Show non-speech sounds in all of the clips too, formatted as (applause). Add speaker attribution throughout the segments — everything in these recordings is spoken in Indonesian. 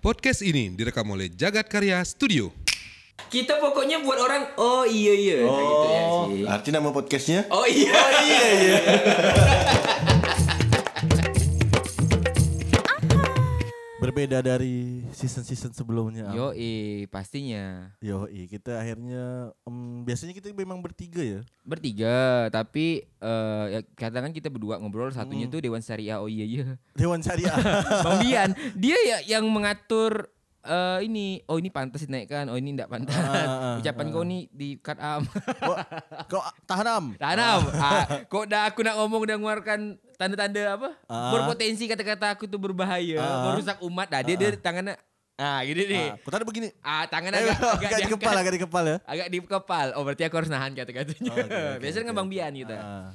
Speaker 1: Podcast ini direkam oleh Jagat Karya Studio.
Speaker 2: Kita pokoknya buat orang oh iya iya Nah, gitu ya
Speaker 3: Oh,
Speaker 2: sih.
Speaker 3: arti nama podcastnya?
Speaker 2: Oh iya iya (laughs) iya.
Speaker 3: Berbeda dari season-season sebelumnya. Yo.
Speaker 2: Yo pastinya
Speaker 3: Yoi, kita akhirnya em, biasanya kita memang bertiga ya.
Speaker 2: bertiga tapi eh, ya, kadang kan kita berdua ngobrol satunya tuh Dewan Syariah oh iya iya.
Speaker 3: Dewan
Speaker 2: (laughs)
Speaker 3: Syariah.
Speaker 2: Bang Dian
Speaker 3: (laughs)
Speaker 2: dia ya yang mengatur eh, ini oh ini pantas dinaikkan oh ini tidak pantas
Speaker 3: Ah, ah,
Speaker 2: ucapan kau ini di cut am
Speaker 3: Kok kok tahanam?
Speaker 2: (laughs) tanam ah, kok dah aku nak ngomong udah mengeluarkan tanda-tanda apa
Speaker 3: Ah.
Speaker 2: berpotensi kata-kata aku tuh berbahaya
Speaker 3: Ah.
Speaker 2: merusak umat nah, dia, dia tangannya ah gini nih
Speaker 3: Ah, Kok tadi begini?
Speaker 2: Ah, tangan
Speaker 3: Eh, (laughs)
Speaker 2: agak, agak
Speaker 3: agak di
Speaker 2: diangkat.
Speaker 3: kepala, agak di kepala. ya?
Speaker 2: Agak di kepal. Oh, berarti aku harus nahan kata-katanya.
Speaker 3: Oh, oke, oke,
Speaker 2: (laughs) Biasanya kan
Speaker 3: oke,
Speaker 2: Bang
Speaker 3: oke.
Speaker 2: Bian gitu.
Speaker 3: Ah.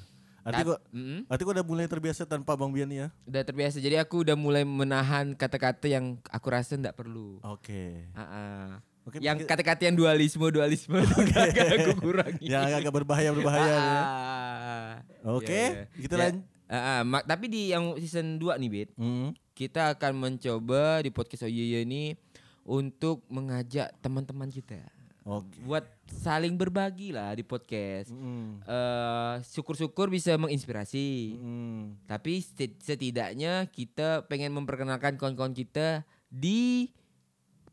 Speaker 3: Arti
Speaker 2: Ta-
Speaker 3: kok
Speaker 2: Mm-mm.
Speaker 3: arti kok udah mulai terbiasa tanpa Bang Bian ya?
Speaker 2: Udah terbiasa. Jadi aku udah mulai menahan kata-kata yang aku rasa nggak perlu. (laughs)
Speaker 3: Oke.
Speaker 2: Ah, ah.
Speaker 3: Oke,
Speaker 2: yang
Speaker 3: mungkin-
Speaker 2: kata-kata yang dualisme
Speaker 3: (laughs)
Speaker 2: dualisme agak aku kurangi.
Speaker 3: Yang agak berbahaya berbahaya
Speaker 2: Ah,
Speaker 3: ya.
Speaker 2: ah.
Speaker 3: Oke,
Speaker 2: Ya, ya.
Speaker 3: kita
Speaker 2: Ya,
Speaker 3: lan-
Speaker 2: ah, ah. Ma- tapi di yang season 2 nih, Bit.
Speaker 3: Hmm.
Speaker 2: Kita akan mencoba di podcast Oyeye ini untuk mengajak teman-teman kita.
Speaker 3: Oke.
Speaker 2: buat saling berbagi lah di podcast.
Speaker 3: Mm.
Speaker 2: Eh, Syukur-syukur bisa menginspirasi.
Speaker 3: Hmm.
Speaker 2: Tapi seti- setidaknya kita pengen memperkenalkan kawan-kawan kita di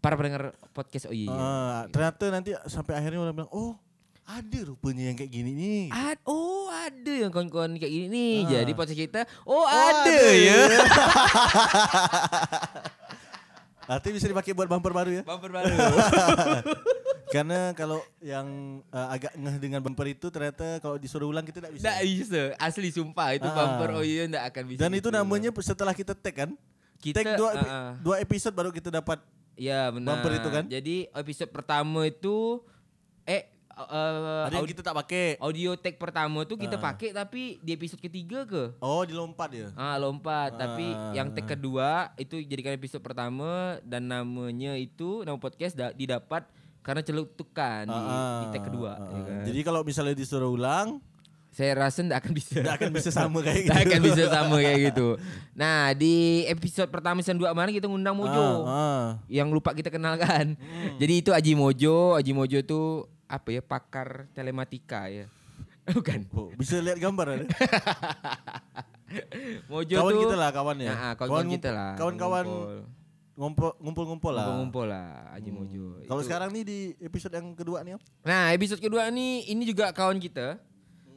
Speaker 2: para pendengar podcast Oh, iya, OY.
Speaker 3: Ah, ternyata nanti sampai akhirnya orang bilang, "Oh, ada rupanya yang kayak gini nih."
Speaker 2: Ad- oh ada yang kawan-kawan kayak gini nih.
Speaker 3: gitu. Ah.
Speaker 2: Jadi podcast kita, oh,
Speaker 3: Oh,
Speaker 2: ada ya. Ah.
Speaker 3: Artinya bisa dipakai buat bumper baru ya.
Speaker 2: Bumper baru.
Speaker 3: Karena kalau yang eh, agak ngeh dengan bumper itu ternyata kalau disuruh ulang kita tidak bisa.
Speaker 2: Nggak bisa, asli sumpah itu
Speaker 3: Ah.
Speaker 2: bumper OY nggak akan bisa.
Speaker 3: Dan itu
Speaker 2: gitu.
Speaker 3: namanya setelah kita tag kan?
Speaker 2: Kita,
Speaker 3: tag dua, epi-
Speaker 2: ah, ah.
Speaker 3: dua episode baru kita dapat.
Speaker 2: Ya benar.
Speaker 3: Bumper itu kan?
Speaker 2: Jadi episode pertama itu eh eh,
Speaker 3: Ada yang
Speaker 2: aud-
Speaker 3: kita tak pakai.
Speaker 2: audio tag pertama tuh kita pakai tapi di episode ketiga ke?
Speaker 3: Oh, dilompat ya.
Speaker 2: Ah lompat, tapi
Speaker 3: Ah.
Speaker 2: yang tag kedua itu jadikan episode pertama dan namanya itu nama podcast da- didapat karena celutukan di, di
Speaker 3: Ah,
Speaker 2: tag kedua.
Speaker 3: ah,
Speaker 2: ya kan?
Speaker 3: Jadi kalau misalnya disuruh ulang,
Speaker 2: Saya rasa ndak akan bisa.
Speaker 3: tidak
Speaker 2: (laughs)
Speaker 3: akan bisa sama kayak gitu.
Speaker 2: Nggak akan bisa sama kayak gitu. Nah, di episode pertama season 2 kemarin kita ngundang Mojo.
Speaker 3: Ah,
Speaker 2: yang lupa kita kenalkan.
Speaker 3: Hmm.
Speaker 2: Jadi itu Aji Mojo, Aji Mojo tuh apa ya pakar telematika ya. (laughs) Bukan.
Speaker 3: ah. Oh, bisa lihat gambar
Speaker 2: (laughs)
Speaker 3: ada.
Speaker 2: Mojo
Speaker 3: kawan
Speaker 2: tuh
Speaker 3: kita lah kawannya.
Speaker 2: Nah, ah, kawan-kawan kita lah.
Speaker 3: Kawan-kawan ngumpul ngumpul-ngumpul lah. Hmm.
Speaker 2: ngumpul lah Aji Mojo.
Speaker 3: Kalau
Speaker 2: Itu.
Speaker 3: sekarang nih di episode yang kedua
Speaker 2: (laughs)
Speaker 3: nih, oh, Om.
Speaker 2: Nah, episode kedua nih ini juga kawan kita.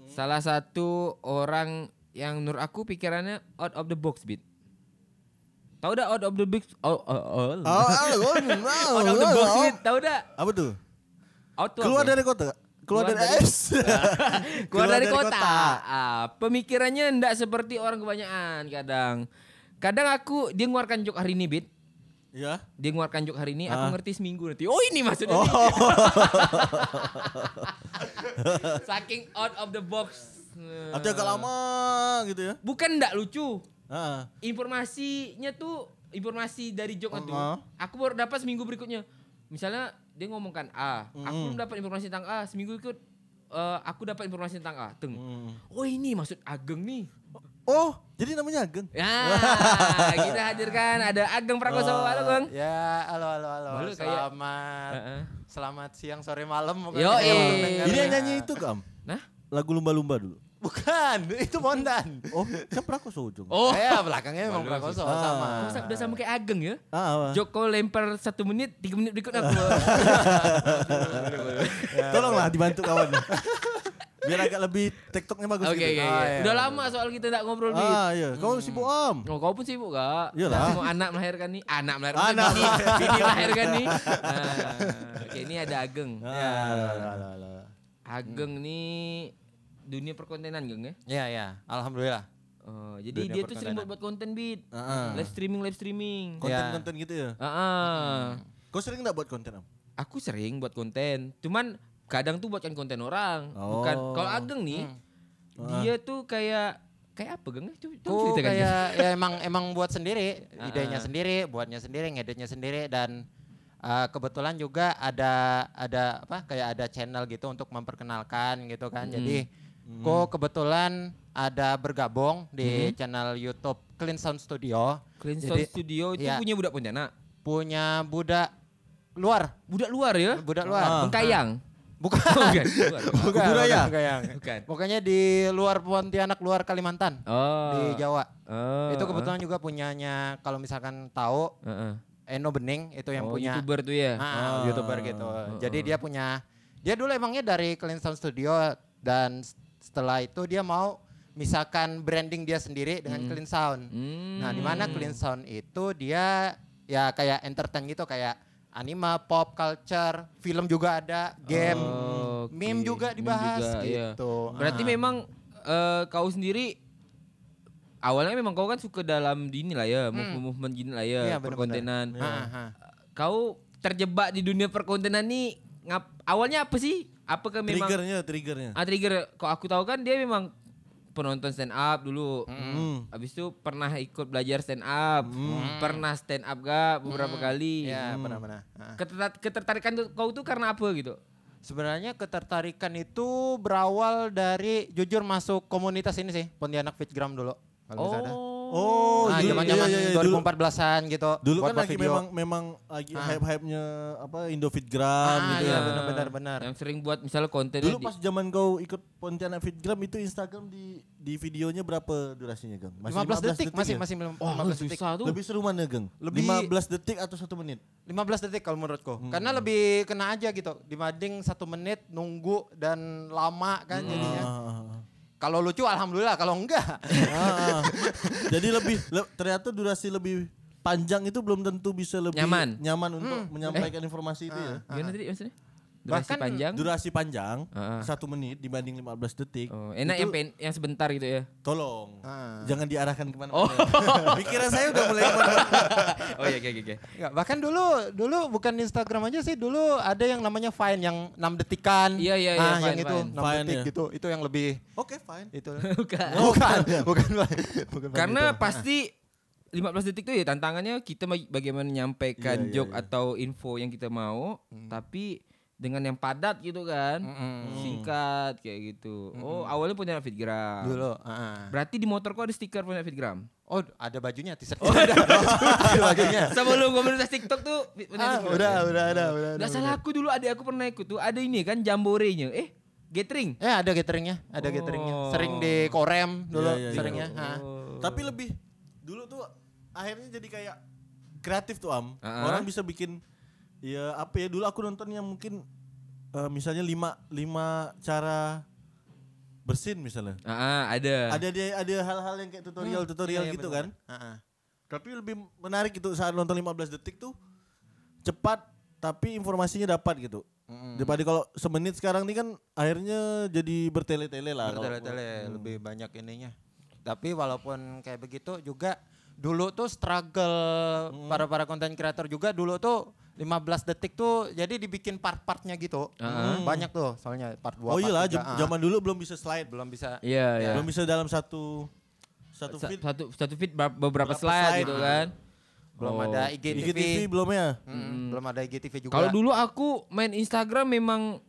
Speaker 2: Salah satu orang yang menurut aku pikirannya out of the box bit. Tahu dah out of the box? Oh, oh, oh.
Speaker 3: Oh, oh, oh,
Speaker 2: out of the box bit. Tahu dah?
Speaker 3: Apa tuh?
Speaker 2: Out tuh
Speaker 3: Keluar
Speaker 2: apa?
Speaker 3: dari kota? Keluar,
Speaker 2: (laughs) Keluar
Speaker 3: dari,
Speaker 2: dari-
Speaker 3: es.
Speaker 2: keluar dari kota. Ah, pemikirannya ndak seperti orang kebanyakan kadang. Kadang aku dia ngeluarkan joke hari ini, Bit.
Speaker 3: Ya.
Speaker 2: Dia ngeluarkan joke hari ini,
Speaker 3: Ah.
Speaker 2: aku ngerti seminggu nanti. Oh, ini maksudnya. nih. (laughs) Saking out of the box. Eh,
Speaker 3: Artinya agak lama gitu ya.
Speaker 2: Bukan ndak lucu.
Speaker 3: Heeh.
Speaker 2: Informasinya tuh informasi dari joke itu.
Speaker 3: Uh-uh.
Speaker 2: Aku baru dapat seminggu berikutnya. Misalnya dia ngomongkan A, aku belum dapat informasi tentang A, seminggu ikut eh, aku dapat informasi tentang A, teng. Oh ini maksud Ageng nih.
Speaker 3: Oh, jadi namanya Ageng.
Speaker 2: Ya, kita hadirkan ada Ageng Prakoso. Halo, Bang.
Speaker 4: Ya, halo halo halo.
Speaker 2: Baru kayak-
Speaker 4: selamat.
Speaker 2: Heeh.
Speaker 4: Selamat siang, sore, malam.
Speaker 2: Yoi.
Speaker 4: pokoknya kalau
Speaker 2: iya,
Speaker 4: ya. pendengar.
Speaker 3: Ini yang nyanyi itu, Kam.
Speaker 2: Nah,
Speaker 3: Lagu lumba-lumba dulu.
Speaker 4: Bukan, (laughs) itu Mondan.
Speaker 3: Oh, kan Prakoso ujung.
Speaker 2: oh,
Speaker 4: Ya, belakangnya memang Prakoso
Speaker 3: Ah.
Speaker 4: sama.
Speaker 2: masa udah sama kayak Ageng ya?
Speaker 3: Ah, apa?
Speaker 2: Joko lempar satu menit, tiga menit berikut aku.
Speaker 3: (laughs) gitu. Tolonglah dibantu kawan. (laughs) Biar agak lebih TikToknya bagus
Speaker 2: Oke, oke,
Speaker 3: gitu.
Speaker 2: oke.
Speaker 4: iya.
Speaker 2: Udah lama soal kita nggak ngobrol nih.
Speaker 3: Ah, iya. Kau sibuk, Om.
Speaker 2: Oh, kau pun sibuk gak?
Speaker 3: Iyalah.
Speaker 2: Mau anak melahirkan nih? Anak melahirkan
Speaker 3: Anak.
Speaker 2: Bini, bini melahirkan nih. Nah, oke, ini ada Ageng.
Speaker 3: Ah. Iya,
Speaker 4: Ya, halo halo halo.
Speaker 2: Ageng nih dunia perkontenan, Geng ya?
Speaker 4: Ya, ya, alhamdulillah.
Speaker 2: Oh, jadi
Speaker 4: Dunia
Speaker 2: dia tuh sering buat, buat konten beat.
Speaker 3: Ah, ah.
Speaker 2: Live streaming, live streaming.
Speaker 4: Kon-
Speaker 3: Konten-konten gitu ya.
Speaker 2: Ah, ah.
Speaker 3: Kau sering enggak buat konten, Om?
Speaker 2: aku sering buat konten cuman kadang tuh buatkan konten orang bukan
Speaker 3: Oh.
Speaker 2: kalau ageng nih
Speaker 4: Hmm.
Speaker 2: dia tuh kayak kayak apa geng coba, coba
Speaker 4: Aku
Speaker 2: ceritakan Geng.
Speaker 4: Oh, kayak ya emang emang buat sendiri,
Speaker 2: Ah,
Speaker 4: idenya
Speaker 2: ah.
Speaker 4: sendiri, buatnya sendiri, ngeditnya sendiri dan eh, kebetulan juga ada ada apa kayak ada channel gitu untuk memperkenalkan gitu kan. Jadi kok kebetulan ada bergabung di channel YouTube Clean Sound Studio.
Speaker 2: Clean
Speaker 4: Jadi-
Speaker 2: Sound Studio itu
Speaker 4: iya.
Speaker 2: punya budak Pontianak
Speaker 4: punya budak luar
Speaker 2: Budak luar ya?
Speaker 4: budak luar
Speaker 3: Ah.
Speaker 4: (laughs)
Speaker 2: Bengkayang.
Speaker 4: bukan
Speaker 2: Bukan. bukan.
Speaker 4: bukan
Speaker 3: Kuburaya?
Speaker 4: bukan, bukan.
Speaker 2: Bukan.
Speaker 4: pokoknya di luar Pontianak luar Kalimantan
Speaker 2: Oh.
Speaker 4: di Jawa
Speaker 2: Oh,
Speaker 4: itu kebetulan juga punyanya kalau misalkan tahu
Speaker 2: eh, eh.
Speaker 4: Eno Bening itu yang
Speaker 2: Oh,
Speaker 4: punya
Speaker 2: YouTuber tuh ya.
Speaker 4: Ah, youtuber gitu. Jadi dia punya dia dulu emangnya dari Clinton Studio dan s- setelah itu dia mau misalkan branding dia sendiri dengan Clean Sound.
Speaker 2: Hmm.
Speaker 4: Nah, di mana Clean Sound itu dia ya kayak entertain gitu kayak anime, pop culture, film juga ada, game,
Speaker 2: Oh, oke.
Speaker 4: meme juga
Speaker 2: Meme
Speaker 4: dibahas
Speaker 2: juga, iya.
Speaker 4: gitu.
Speaker 2: Berarti
Speaker 4: Ah.
Speaker 2: memang eh, kau sendiri awalnya memang kau kan suka dalam di ini lah ya, movement movement gini lah ya,
Speaker 4: Hmm. Iya, benar-benar.
Speaker 2: perkontenan.
Speaker 4: Ah, ah,
Speaker 3: Iya.
Speaker 4: ah.
Speaker 2: Kau terjebak di dunia perkontenan nih ngap awalnya apa sih? Apakah memang
Speaker 3: Triggernya, triggernya.
Speaker 2: Ah trigger kok aku tahu kan dia memang penonton stand up dulu.
Speaker 3: Hmm.
Speaker 2: Habis itu pernah ikut belajar stand up, pernah stand up gak beberapa kali.
Speaker 4: Iya,
Speaker 3: Hmm.
Speaker 4: benar-benar. Ah.
Speaker 2: Ketertar- ketertarikan tuh- kau tuh karena apa gitu?
Speaker 4: Sebenarnya ketertarikan itu berawal dari jujur masuk komunitas ini sih Pontianak Fitgram dulu. Kalau nggak salah.
Speaker 3: Oh,
Speaker 2: Ah,
Speaker 4: nah,
Speaker 3: dulu-
Speaker 4: zaman-zaman
Speaker 3: iya, iya, iya, dulu-
Speaker 4: 2014-an gitu.
Speaker 3: Dulu kan
Speaker 4: buat-buat
Speaker 3: lagi
Speaker 4: video.
Speaker 3: memang memang lagi
Speaker 4: Ah.
Speaker 3: hype-hype-nya apa Indofitgram
Speaker 4: Ah,
Speaker 3: gitu
Speaker 4: iya,
Speaker 3: ya.
Speaker 4: benar, benar, benar.
Speaker 2: Yang sering buat misalnya konten
Speaker 3: Dulu pas zaman kau ikut Pontianak Fitgram itu Instagram di di videonya berapa durasinya, Gang?
Speaker 4: 15, detik, masih
Speaker 3: ya?
Speaker 4: masih belum
Speaker 2: oh,
Speaker 4: 15 detik.
Speaker 2: susah tuh.
Speaker 3: Lebih seru mana, Gang?
Speaker 4: Lebih-
Speaker 3: 15 detik atau 1 menit?
Speaker 4: 15 detik kalau menurutku.
Speaker 3: Hmm.
Speaker 4: Karena lebih kena aja gitu dibanding satu menit nunggu dan lama kan jadinya.
Speaker 3: Ah.
Speaker 4: Kalau lucu alhamdulillah, kalau enggak
Speaker 3: (laughs)
Speaker 4: (laughs)
Speaker 3: Ah, ah. Jadi lebih le- ternyata durasi lebih panjang itu belum tentu bisa lebih
Speaker 2: Nyaman.
Speaker 3: untuk
Speaker 4: Hmm.
Speaker 3: menyampaikan
Speaker 4: Eh.
Speaker 3: informasi itu ya.
Speaker 4: Ah,
Speaker 2: Gimana tadi maksudnya? Durasi
Speaker 4: Bahkan
Speaker 2: panjang.
Speaker 3: Durasi panjang
Speaker 2: Ah.
Speaker 3: satu menit dibanding 15 detik.
Speaker 2: Oh, enak
Speaker 3: itu
Speaker 2: yang pen- yang sebentar gitu ya.
Speaker 3: Tolong
Speaker 4: Ah.
Speaker 3: jangan diarahkan kemana. (laughs)
Speaker 2: Oh.
Speaker 3: Pikiran saya udah mulai kemana
Speaker 2: (laughs) oh iya oke oke, oke.
Speaker 4: Enggak, bahkan dulu dulu bukan Instagram aja sih, dulu ada yang namanya Vine yang 6 detikan.
Speaker 2: Iya, iya, iya,
Speaker 4: Ah,
Speaker 2: Vine,
Speaker 4: yang itu
Speaker 2: Vine.
Speaker 4: 6
Speaker 3: Vine,
Speaker 4: detik
Speaker 3: ya.
Speaker 4: gitu. Itu yang lebih
Speaker 3: Oke, fine.
Speaker 4: itu.
Speaker 2: (laughs) Bukan.
Speaker 4: (laughs) bukan, bukan, Vine. bukan Vine
Speaker 2: Karena
Speaker 4: itu.
Speaker 2: pasti 15 detik tuh ya tantangannya kita baga- bagaimana menyampaikan
Speaker 3: Iya, iya,
Speaker 2: joke atau info yang kita mau
Speaker 4: Hmm.
Speaker 2: tapi dengan yang padat gitu kan. Singkat kayak gitu. Oh, awalnya punya Fitgram.
Speaker 4: Hmm, dulu, ah.
Speaker 2: Berarti di motor kok ada stiker punya Fitgram.
Speaker 4: Oh, ada bajunya, t-shirt. Oh, (laughs) ada bajunya.
Speaker 2: (laughs) Sebelum komunitas TikTok tuh
Speaker 4: (laughs)
Speaker 2: Fit- punya
Speaker 4: Ah,
Speaker 2: Fitgram.
Speaker 4: udah, udah, ada, udah.
Speaker 2: Nggak salah aku dulu adik aku pernah ikut tuh ada ini kan jamborenya. Eh, gathering.
Speaker 4: (laughs) Ya, ada gatheringnya, ada gatheringnya.
Speaker 2: Oh.
Speaker 4: Sering di korem dulu,
Speaker 3: Iya, iya, iya.
Speaker 4: seringnya. ah.
Speaker 3: Tapi lebih dulu tuh akhirnya jadi kayak kreatif tuh Am.
Speaker 2: Ah.
Speaker 3: Orang bisa bikin ya apa ya dulu aku nonton yang mungkin eh, misalnya lima lima cara bersin misalnya.
Speaker 2: Ah, ah, ada.
Speaker 3: Ada dia ada hal-hal yang kayak tutorial-tutorial
Speaker 4: Iya, iya,
Speaker 3: gitu
Speaker 4: benar.
Speaker 3: kan. Tapi lebih menarik itu saat nonton 15 detik tuh cepat tapi informasinya dapat gitu. Daripada kalau semenit sekarang ini kan akhirnya jadi bertele-tele lah. kalau-
Speaker 4: Bertele-tele, ya, lebih
Speaker 2: hmm.
Speaker 4: banyak ininya. Tapi walaupun kayak begitu juga dulu tuh struggle
Speaker 2: Hmm.
Speaker 4: para para konten creator juga dulu tuh 15 detik tuh jadi dibikin part-partnya gitu.
Speaker 2: Hmm.
Speaker 4: Banyak tuh soalnya part ah, 2.
Speaker 3: Oh iya lah, jam- zaman dulu belum bisa slide, belum bisa
Speaker 2: Iya, iya.
Speaker 3: belum bisa dalam satu satu
Speaker 2: Sa-
Speaker 3: feed.
Speaker 2: satu satu feed ber- beberapa
Speaker 3: Berapa
Speaker 2: slide,
Speaker 3: slide,
Speaker 2: gitu
Speaker 3: ah.
Speaker 2: kan.
Speaker 4: belum
Speaker 2: Oh.
Speaker 4: ada IGTV.
Speaker 3: IGTV belum ya?
Speaker 2: Hmm.
Speaker 4: Mm, Belum ada IGTV juga.
Speaker 2: Kalau dulu aku main Instagram memang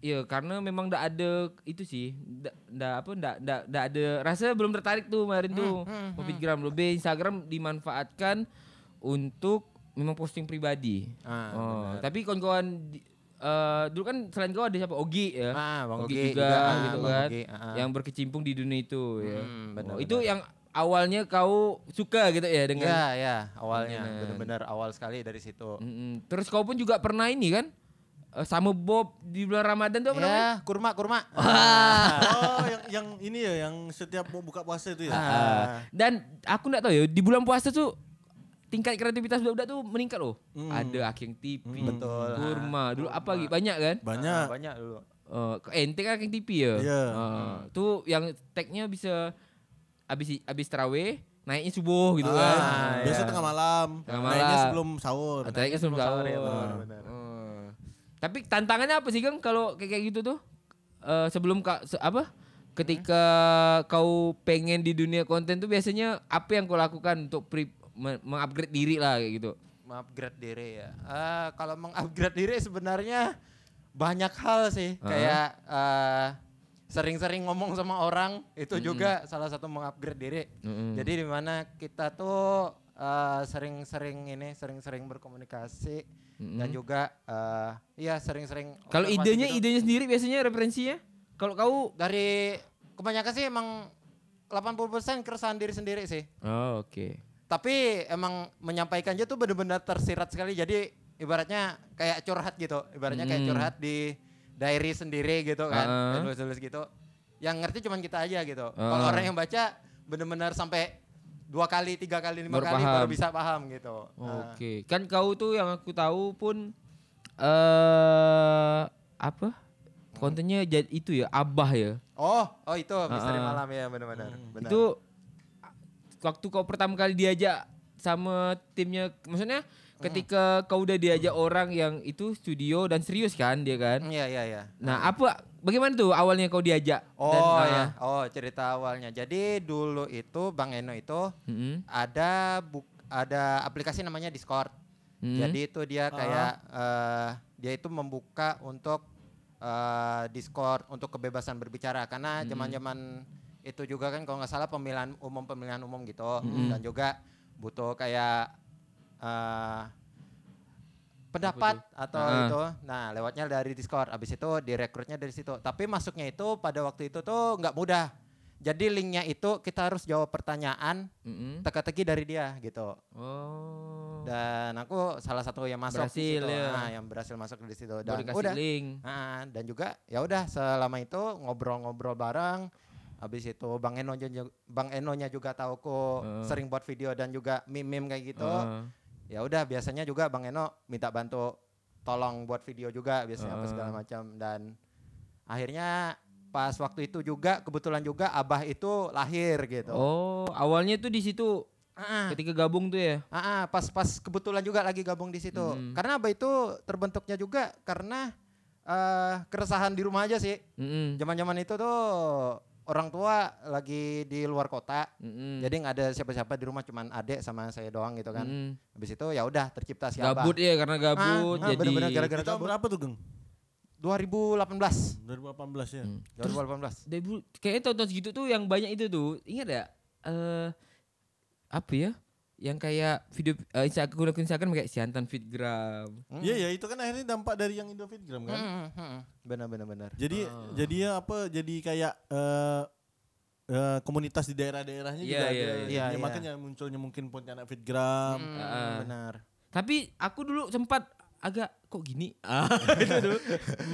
Speaker 2: ya karena memang ndak ada itu sih, ndak ndak apa ndak ndak ndak ada rasa belum tertarik tuh kemarin tuh ke Instagram lebih Instagram dimanfaatkan untuk memang posting pribadi.
Speaker 4: Ah,
Speaker 2: Oh, tapi kawan-kawan di- eh, dulu kan selain kau ada siapa Ogi ya.
Speaker 4: Ah, Bang
Speaker 2: Ogi,
Speaker 4: Ogi
Speaker 2: juga,
Speaker 4: juga, ah,
Speaker 2: gitu
Speaker 4: Bang
Speaker 2: kan.
Speaker 4: Ogi, ah, ah.
Speaker 2: Yang berkecimpung di dunia itu ya. Oh,
Speaker 4: Hmm, benar,
Speaker 2: itu yang awalnya kau suka gitu ya dengan
Speaker 4: Ya, ya, awalnya
Speaker 2: kan?
Speaker 4: benar-benar awal sekali dari situ.
Speaker 2: Mm-mm. Terus kau pun juga pernah ini kan eh, sama Bob di bulan Ramadan tuh apa namanya?
Speaker 4: Ya, kurma, kurma. Ah,
Speaker 2: Nah.
Speaker 3: Oh, yang yang ini ya yang setiap mau buka puasa
Speaker 4: Ah,
Speaker 3: itu ya.
Speaker 2: Ah. Dan aku nggak tahu ya di bulan puasa tuh tingkat kreativitas budak-budak tuh meningkat loh. Ada Aking TV,
Speaker 4: Hmm. Betul, ah.
Speaker 2: Kurma, dulu apa gitu banyak kan?
Speaker 3: Banyak.
Speaker 4: Ah, banyak dulu.
Speaker 2: Eh, eh, ente kan Aking TV ya.
Speaker 3: Iya.
Speaker 2: Eh,
Speaker 4: Hmm.
Speaker 2: Tuh yang tagnya bisa abis abis terawih naiknya subuh gitu kan.
Speaker 3: Ah, biasa
Speaker 4: iya.
Speaker 3: tengah malam.
Speaker 2: Tengah
Speaker 3: Naiknya
Speaker 2: malam.
Speaker 3: sebelum sahur.
Speaker 2: Ah, Naiknya sebelum sahur.
Speaker 4: ya, benar,
Speaker 2: Eh.
Speaker 4: benar.
Speaker 2: Eh. Tapi tantangannya apa sih Kang kalau kayak kayak gitu tuh? Eh, sebelum kak se- apa? Ketika kau pengen di dunia konten tuh biasanya apa yang kau lakukan untuk pre- me- mengupgrade diri lah kayak gitu?
Speaker 4: mengupgrade diri ya. Eh, kalau mengupgrade diri sebenarnya banyak hal sih. Kayak eh, sering-sering ngomong sama orang itu juga salah satu mengupgrade diri. Jadi di mana kita tuh eh, sering-sering ini sering-sering berkomunikasi dan juga eh, iya sering-sering
Speaker 2: Kalau
Speaker 4: observasi
Speaker 2: idenya
Speaker 4: gitu.
Speaker 2: idenya sendiri biasanya referensinya kalau kau
Speaker 4: dari kebanyakan sih emang 80% keresahan diri sendiri sih.
Speaker 2: Oh, oke.
Speaker 4: Tapi emang menyampaikannya tuh benar-benar tersirat sekali. Jadi ibaratnya kayak curhat gitu. Ibaratnya kayak
Speaker 2: Hmm.
Speaker 4: curhat di diary sendiri gitu kan.
Speaker 2: Heeh.
Speaker 4: Kayak Tulis-tulis gitu. Yang ngerti cuman kita aja gitu. Kalau
Speaker 2: Heeh.
Speaker 4: orang yang baca benar-benar sampai dua kali, tiga kali, lima
Speaker 2: Baru
Speaker 4: kali
Speaker 2: paham.
Speaker 4: baru bisa paham gitu. Nah,
Speaker 2: Oke, kan kau tuh yang aku tahu pun eh apa? Kontennya jad- itu ya, Abah ya.
Speaker 4: Oh, oh itu
Speaker 2: Heeh.
Speaker 4: misteri
Speaker 2: Hmm.
Speaker 4: malam ya benar-benar. Benar.
Speaker 2: Itu waktu kau pertama kali diajak sama timnya, maksudnya ketika kau udah diajak orang yang itu studio dan serius kan dia kan.
Speaker 4: Iya, iya, iya.
Speaker 2: Nah, apa bagaimana tuh awalnya kau diajak?
Speaker 4: Oh
Speaker 2: Dan, nah,
Speaker 4: ya, oh cerita awalnya. Jadi dulu itu Bang Eno itu
Speaker 2: mm-mm,
Speaker 4: ada buk, ada aplikasi namanya Discord.
Speaker 2: mm-mm.
Speaker 4: Jadi itu dia kayak eh, dia itu membuka untuk eh, Discord untuk kebebasan berbicara karena zaman-zaman itu juga kan kalau nggak salah pemilihan umum pemilihan umum gitu dan juga butuh kayak eh, pendapat atau
Speaker 2: Ah.
Speaker 4: itu. Nah, lewatnya dari Discord. Habis itu direkrutnya dari situ. Tapi masuknya itu pada waktu itu tuh nggak mudah. Jadi linknya itu kita harus jawab pertanyaan
Speaker 2: Mm-mm.
Speaker 4: teka-teki dari dia gitu.
Speaker 2: Mm-hmm. Oh.
Speaker 4: Dan aku salah satu yang masuk di
Speaker 2: Berhasil,
Speaker 4: situ.
Speaker 2: ya.
Speaker 4: Nah, yang berhasil masuk di situ
Speaker 2: Baru
Speaker 4: dan
Speaker 2: dikasih
Speaker 4: udah.
Speaker 2: link.
Speaker 4: Ah, dan juga ya udah selama itu ngobrol-ngobrol bareng. Habis itu Bang Eno ju- Bang Enonya juga tahu aku
Speaker 2: Heeh.
Speaker 4: sering buat video dan juga meme-meme kayak gitu.
Speaker 2: Ah.
Speaker 4: Ya udah biasanya juga Bang Eno minta bantu tolong buat video juga biasanya apa
Speaker 2: Heeh.
Speaker 4: segala macam dan akhirnya pas waktu itu juga kebetulan juga Abah itu lahir gitu.
Speaker 2: Oh, awalnya tuh di situ
Speaker 4: Ah.
Speaker 2: ketika gabung tuh ya.
Speaker 4: Ah, ah, pas pas kebetulan juga lagi gabung di situ.
Speaker 2: Mm.
Speaker 4: Karena apa itu terbentuknya juga karena eh, keresahan di rumah aja sih.
Speaker 2: Mm-mm.
Speaker 4: Zaman-zaman itu tuh orang tua lagi di luar kota.
Speaker 2: Mm-mm.
Speaker 4: Jadi nggak ada siapa-siapa di rumah cuman adek sama saya doang gitu kan.
Speaker 2: Mm-mm.
Speaker 4: Habis itu ya udah tercipta
Speaker 2: Hmm.
Speaker 4: siapa.
Speaker 2: Mm-hmm. Gabut ya karena gabut
Speaker 4: Ah, ah,
Speaker 2: jadi
Speaker 4: bener-bener gara-gara-
Speaker 3: Di tahun
Speaker 4: gabut.
Speaker 3: berapa tuh, Geng?
Speaker 4: 2018.
Speaker 3: 2018 ya.
Speaker 2: Hmm. Terus
Speaker 4: 2018.
Speaker 2: debu- kayaknya tahun-tahun segitu tuh yang banyak itu tuh. Ingat ya? Eh apa ya? Yang kayak video eh, Insta- akun akun Instagram kayak Siantan Fitgram.
Speaker 3: Iya, ya itu kan akhirnya dampak dari yang
Speaker 2: Hmm,
Speaker 3: Indofitgram kan.
Speaker 4: Mm, mm, mm. Bener bener bener.
Speaker 3: Jadi
Speaker 2: Ah.
Speaker 3: jadi ya apa jadi kayak eh eh, komunitas di daerah-daerahnya
Speaker 2: Iya,
Speaker 3: juga
Speaker 2: iya,
Speaker 3: ada.
Speaker 2: iya.
Speaker 3: Iya,
Speaker 4: Iya,
Speaker 3: makanya munculnya mungkin Pontianak Fitgram.
Speaker 4: Mm,
Speaker 2: Ah.
Speaker 4: Bener.
Speaker 2: Tapi aku dulu sempat agak kok gini. (laughs) Ah, itu tuh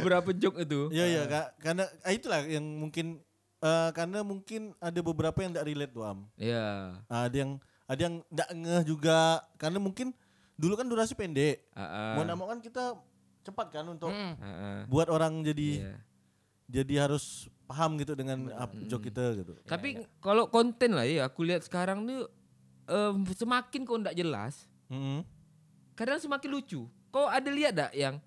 Speaker 2: beberapa joke itu.
Speaker 3: Iya iya Kak. karena ah, itulah yang mungkin eh, karena mungkin ada beberapa yang tidak relate tuh Am.
Speaker 2: Iya.
Speaker 3: Ah, ada yang ada yang tidak ngeh juga karena mungkin dulu kan durasi pendek.
Speaker 2: Ah, ah,
Speaker 3: Mau nggak mau kan kita cepat kan untuk
Speaker 4: Mm.
Speaker 2: ah, ah.
Speaker 3: buat orang jadi
Speaker 2: Iya.
Speaker 3: jadi harus paham gitu dengan up joke kita gitu.
Speaker 2: Tapi kalau konten lah ya aku lihat sekarang tuh eh, semakin kau ndak jelas,
Speaker 3: Mm-mm.
Speaker 2: kadang semakin lucu. Kau ada lihat dak yang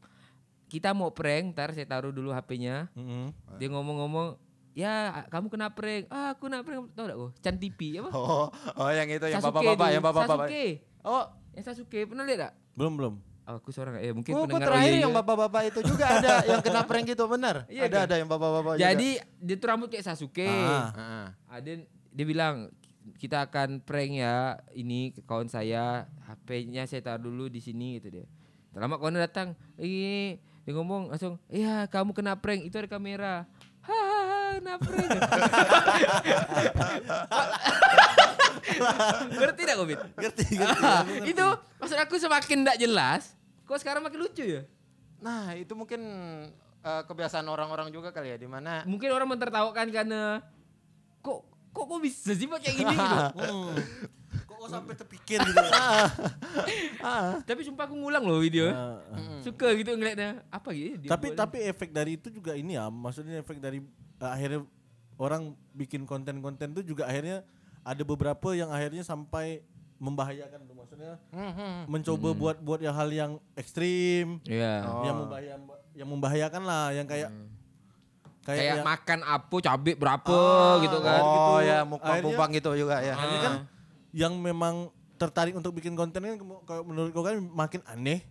Speaker 2: kita mau prank, ntar saya taruh dulu HP-nya.
Speaker 3: Mm-mm.
Speaker 2: Dia ngomong-ngomong, "Ya, kamu kena prank." Ah, aku kena prank. Tahu dak kau? Chan TV apa?
Speaker 4: Oh, oh yang itu yang
Speaker 2: Sasuke
Speaker 4: bapak-bapak,
Speaker 2: tuh,
Speaker 4: yang bapak-bapak.
Speaker 2: Sasuke.
Speaker 4: Oh,
Speaker 2: Yang Sasuke pernah lihat dak?
Speaker 3: Belum belum.
Speaker 2: Aku seorang ya mungkin
Speaker 4: Oh, gua
Speaker 2: pendengar iya.
Speaker 4: terakhir
Speaker 2: Oye
Speaker 4: yang
Speaker 2: juga.
Speaker 4: bapak-bapak itu juga ada yang kena prank gitu benar.
Speaker 2: Iya
Speaker 4: ada
Speaker 2: kan?
Speaker 4: ada yang bapak-bapak juga.
Speaker 2: Jadi dia tuh rambut kayak Sasuke.
Speaker 3: Ah.
Speaker 4: Heeh.
Speaker 2: Ada dia bilang kita akan prank ya ini kawan saya HP-nya saya taruh dulu di sini gitu dia. Tak lama kawan datang, ini dia ngomong langsung, iya kamu kena prank itu ada kamera. Hahaha kena
Speaker 3: (laughs)
Speaker 2: prank. Ngerti tidak Covid? (laughs)
Speaker 3: Ngerti
Speaker 2: itu maksud aku semakin tidak jelas, kok sekarang makin lucu ya?
Speaker 4: nah, itu mungkin eh, kebiasaan orang-orang juga kali ya di mana
Speaker 2: Mungkin orang mentertawakan karena kok kok kok bisa sih buat kayak gini gitu.
Speaker 3: (laughs) Hmm. Kok kok sampai terpikir gitu. (laughs) ya?
Speaker 2: Tapi sumpah aku ngulang loh video.
Speaker 3: Nah,
Speaker 2: Suka gitu ngeliatnya. Apa gitu? dia
Speaker 3: tapi
Speaker 2: buat
Speaker 3: tapi efek dari itu juga ini ya, maksudnya efek dari eh, akhirnya orang bikin konten-konten itu juga akhirnya ada beberapa yang akhirnya sampai membahayakan tuh maksudnya
Speaker 2: Hmm.
Speaker 3: mencoba buat buat yang hal yang ekstrim
Speaker 2: ini. Iya.
Speaker 3: yang membahaya yang membahayakan lah yang kayak
Speaker 2: Hmm.
Speaker 3: kayak,
Speaker 2: Kayak
Speaker 3: yang-
Speaker 2: makan apa cabai berapa gitu kan.
Speaker 4: Oh,
Speaker 3: gitu.
Speaker 4: ya mukbang-mukbang
Speaker 3: Akhirnya-
Speaker 4: gitu juga ya.
Speaker 3: akhirnya kan yang memang tertarik untuk bikin konten kan kemu- kalau menurut kau kan makin aneh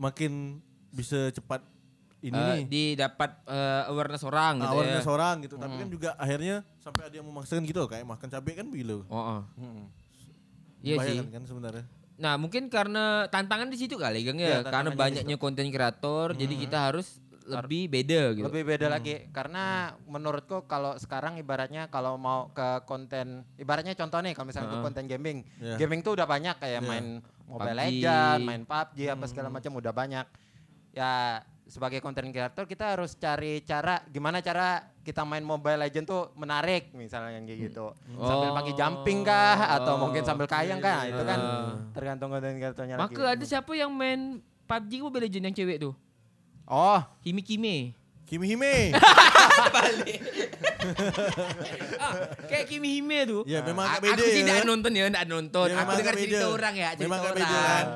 Speaker 3: makin bisa cepat ini
Speaker 2: Eh,
Speaker 3: nih
Speaker 2: didapat eh, awareness orang gitu
Speaker 3: awalnya
Speaker 2: ya.
Speaker 3: seorang gitu tapi kan juga akhirnya sampai ada yang memaksakan gitu loh, kayak makan cabai kan begitu
Speaker 2: Oh, oh. Iya sih.
Speaker 3: Kebanyakan kan sebenarnya.
Speaker 2: Nah mungkin karena tantangan di situ kali Gang ya,
Speaker 4: Iya,
Speaker 2: karena
Speaker 4: tantangannya di
Speaker 2: banyaknya konten kreator, jadi kita harus lebih beda gitu.
Speaker 4: Lebih beda lagi
Speaker 3: Hmm.
Speaker 4: karena menurutku kalau sekarang ibaratnya kalau mau ke konten ibaratnya contoh nih kalau misalnya ke konten gaming.
Speaker 3: Iya.
Speaker 4: Gaming tuh udah banyak
Speaker 3: Iya.
Speaker 4: kayak main Mobile
Speaker 2: PUBG.
Speaker 4: Legends, main PUBG
Speaker 3: Hmm.
Speaker 4: apa segala macam udah banyak. Ya sebagai konten creator kita harus cari cara gimana cara kita main Mobile Legends tuh menarik misalnya yang kayak gitu.
Speaker 3: Oh.
Speaker 4: Sambil pakai jumping kah atau mungkin sambil kayang kah itu kan tergantung konten kreatornya lagi. Hmm.
Speaker 2: Maka ada siapa yang main PUBG Mobile Legends yang cewek tuh?
Speaker 4: Oh,
Speaker 2: Himi Kimi.
Speaker 3: Kimi
Speaker 2: (laughs)
Speaker 3: Hime.
Speaker 2: Kayak Kimi Hime tuh.
Speaker 3: Ya, memang
Speaker 2: A-
Speaker 3: agak beda
Speaker 2: Aku sih
Speaker 3: ya.
Speaker 2: tidak nonton ya, tidak nonton.
Speaker 3: Ya,
Speaker 2: aku
Speaker 3: memang
Speaker 2: dengar
Speaker 3: agak
Speaker 2: cerita
Speaker 3: beda.
Speaker 2: orang ya, cerita
Speaker 3: Memang agak
Speaker 2: orang.
Speaker 3: beda kan.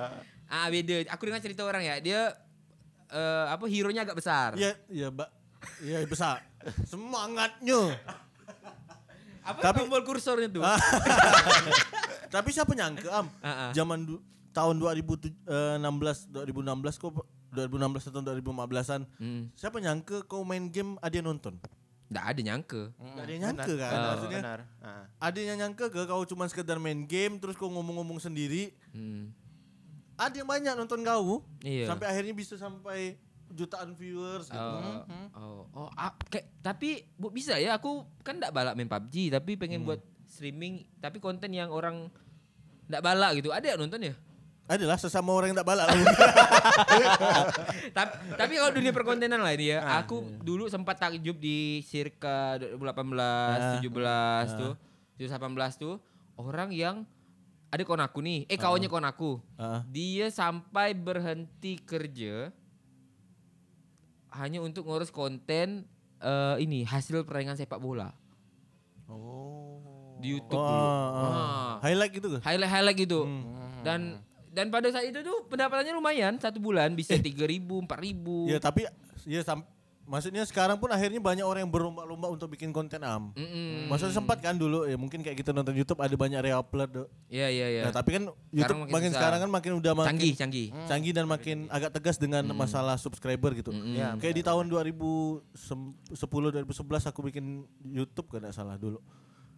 Speaker 2: Ah beda. Aku dengar cerita orang ya, dia eh, apa hero nya agak besar.
Speaker 3: Iya, iya, Mbak. Iya, besar. Semangatnya.
Speaker 2: Apa
Speaker 3: Tapi-
Speaker 2: tombol kursornya tuh?
Speaker 3: Ah. Tapi siapa nyangka am?
Speaker 2: Ah, ah.
Speaker 3: Zaman du- tahun 2016 2016 kok 2016 atau 2015-an.
Speaker 2: Hmm.
Speaker 3: Siapa nyangka kau main game ada yang nonton?
Speaker 2: Nggak ada nyangka.
Speaker 3: Nggak ada yang nyangka kan?
Speaker 4: benar,
Speaker 3: Maksudnya-
Speaker 4: benar. Ah.
Speaker 3: Ada yang nyangka ke kau cuma sekedar main game terus kau ngomong-ngomong sendiri?
Speaker 2: Hmm.
Speaker 3: Ada yang banyak nonton kau.
Speaker 2: Iya.
Speaker 3: Sampai akhirnya bisa sampai jutaan viewers gitu.
Speaker 2: Oh, oh, oh, ah, kayak- tapi bu bisa ya aku kan ndak balak main PUBG tapi pengen
Speaker 3: Hmm.
Speaker 2: buat streaming tapi konten yang orang ndak balak gitu. Ada ya nonton ya?
Speaker 3: Adalah sesama orang yang tak (laughs) balak.
Speaker 2: tapi, tapi kalau dunia perkontenan lah ini ya.
Speaker 3: Ah,
Speaker 2: aku
Speaker 3: iya.
Speaker 2: dulu sempat takjub di circa
Speaker 3: Ah,
Speaker 2: 2018, 17 tuh, 2018 tuh orang yang ada kawan aku nih, eh kawannya kawan aku.
Speaker 3: Ah.
Speaker 2: Dia sampai berhenti kerja hanya untuk ngurus konten eh, ini hasil persaingan sepak bola
Speaker 3: oh.
Speaker 2: di YouTube dulu. Ah.
Speaker 3: Ah. Highlight gitu ke?
Speaker 2: Highlight-highlight gitu.
Speaker 3: Hmm.
Speaker 2: Dan dan pada saat itu tuh pendapatannya lumayan, satu bulan
Speaker 3: Eh.
Speaker 2: bisa 3000, 4000.
Speaker 3: Ya tapi ya sam- maksudnya sekarang pun akhirnya banyak orang yang berlomba-lomba untuk bikin konten am.
Speaker 2: Mm-mm.
Speaker 3: Maksudnya sempat kan dulu ya mungkin kayak kita nonton YouTube ada banyak reupload. do.
Speaker 2: Iya iya iya.
Speaker 3: Nah, tapi kan YouTube
Speaker 2: makin
Speaker 3: makin,
Speaker 2: susah.
Speaker 3: sekarang kan makin udah makin
Speaker 2: Canggih canggih.
Speaker 3: canggih dan makin agak tegas dengan masalah subscriber gitu.
Speaker 4: Ya,
Speaker 3: kayak di tahun 2010 2011 aku bikin YouTube kalau nggak salah dulu.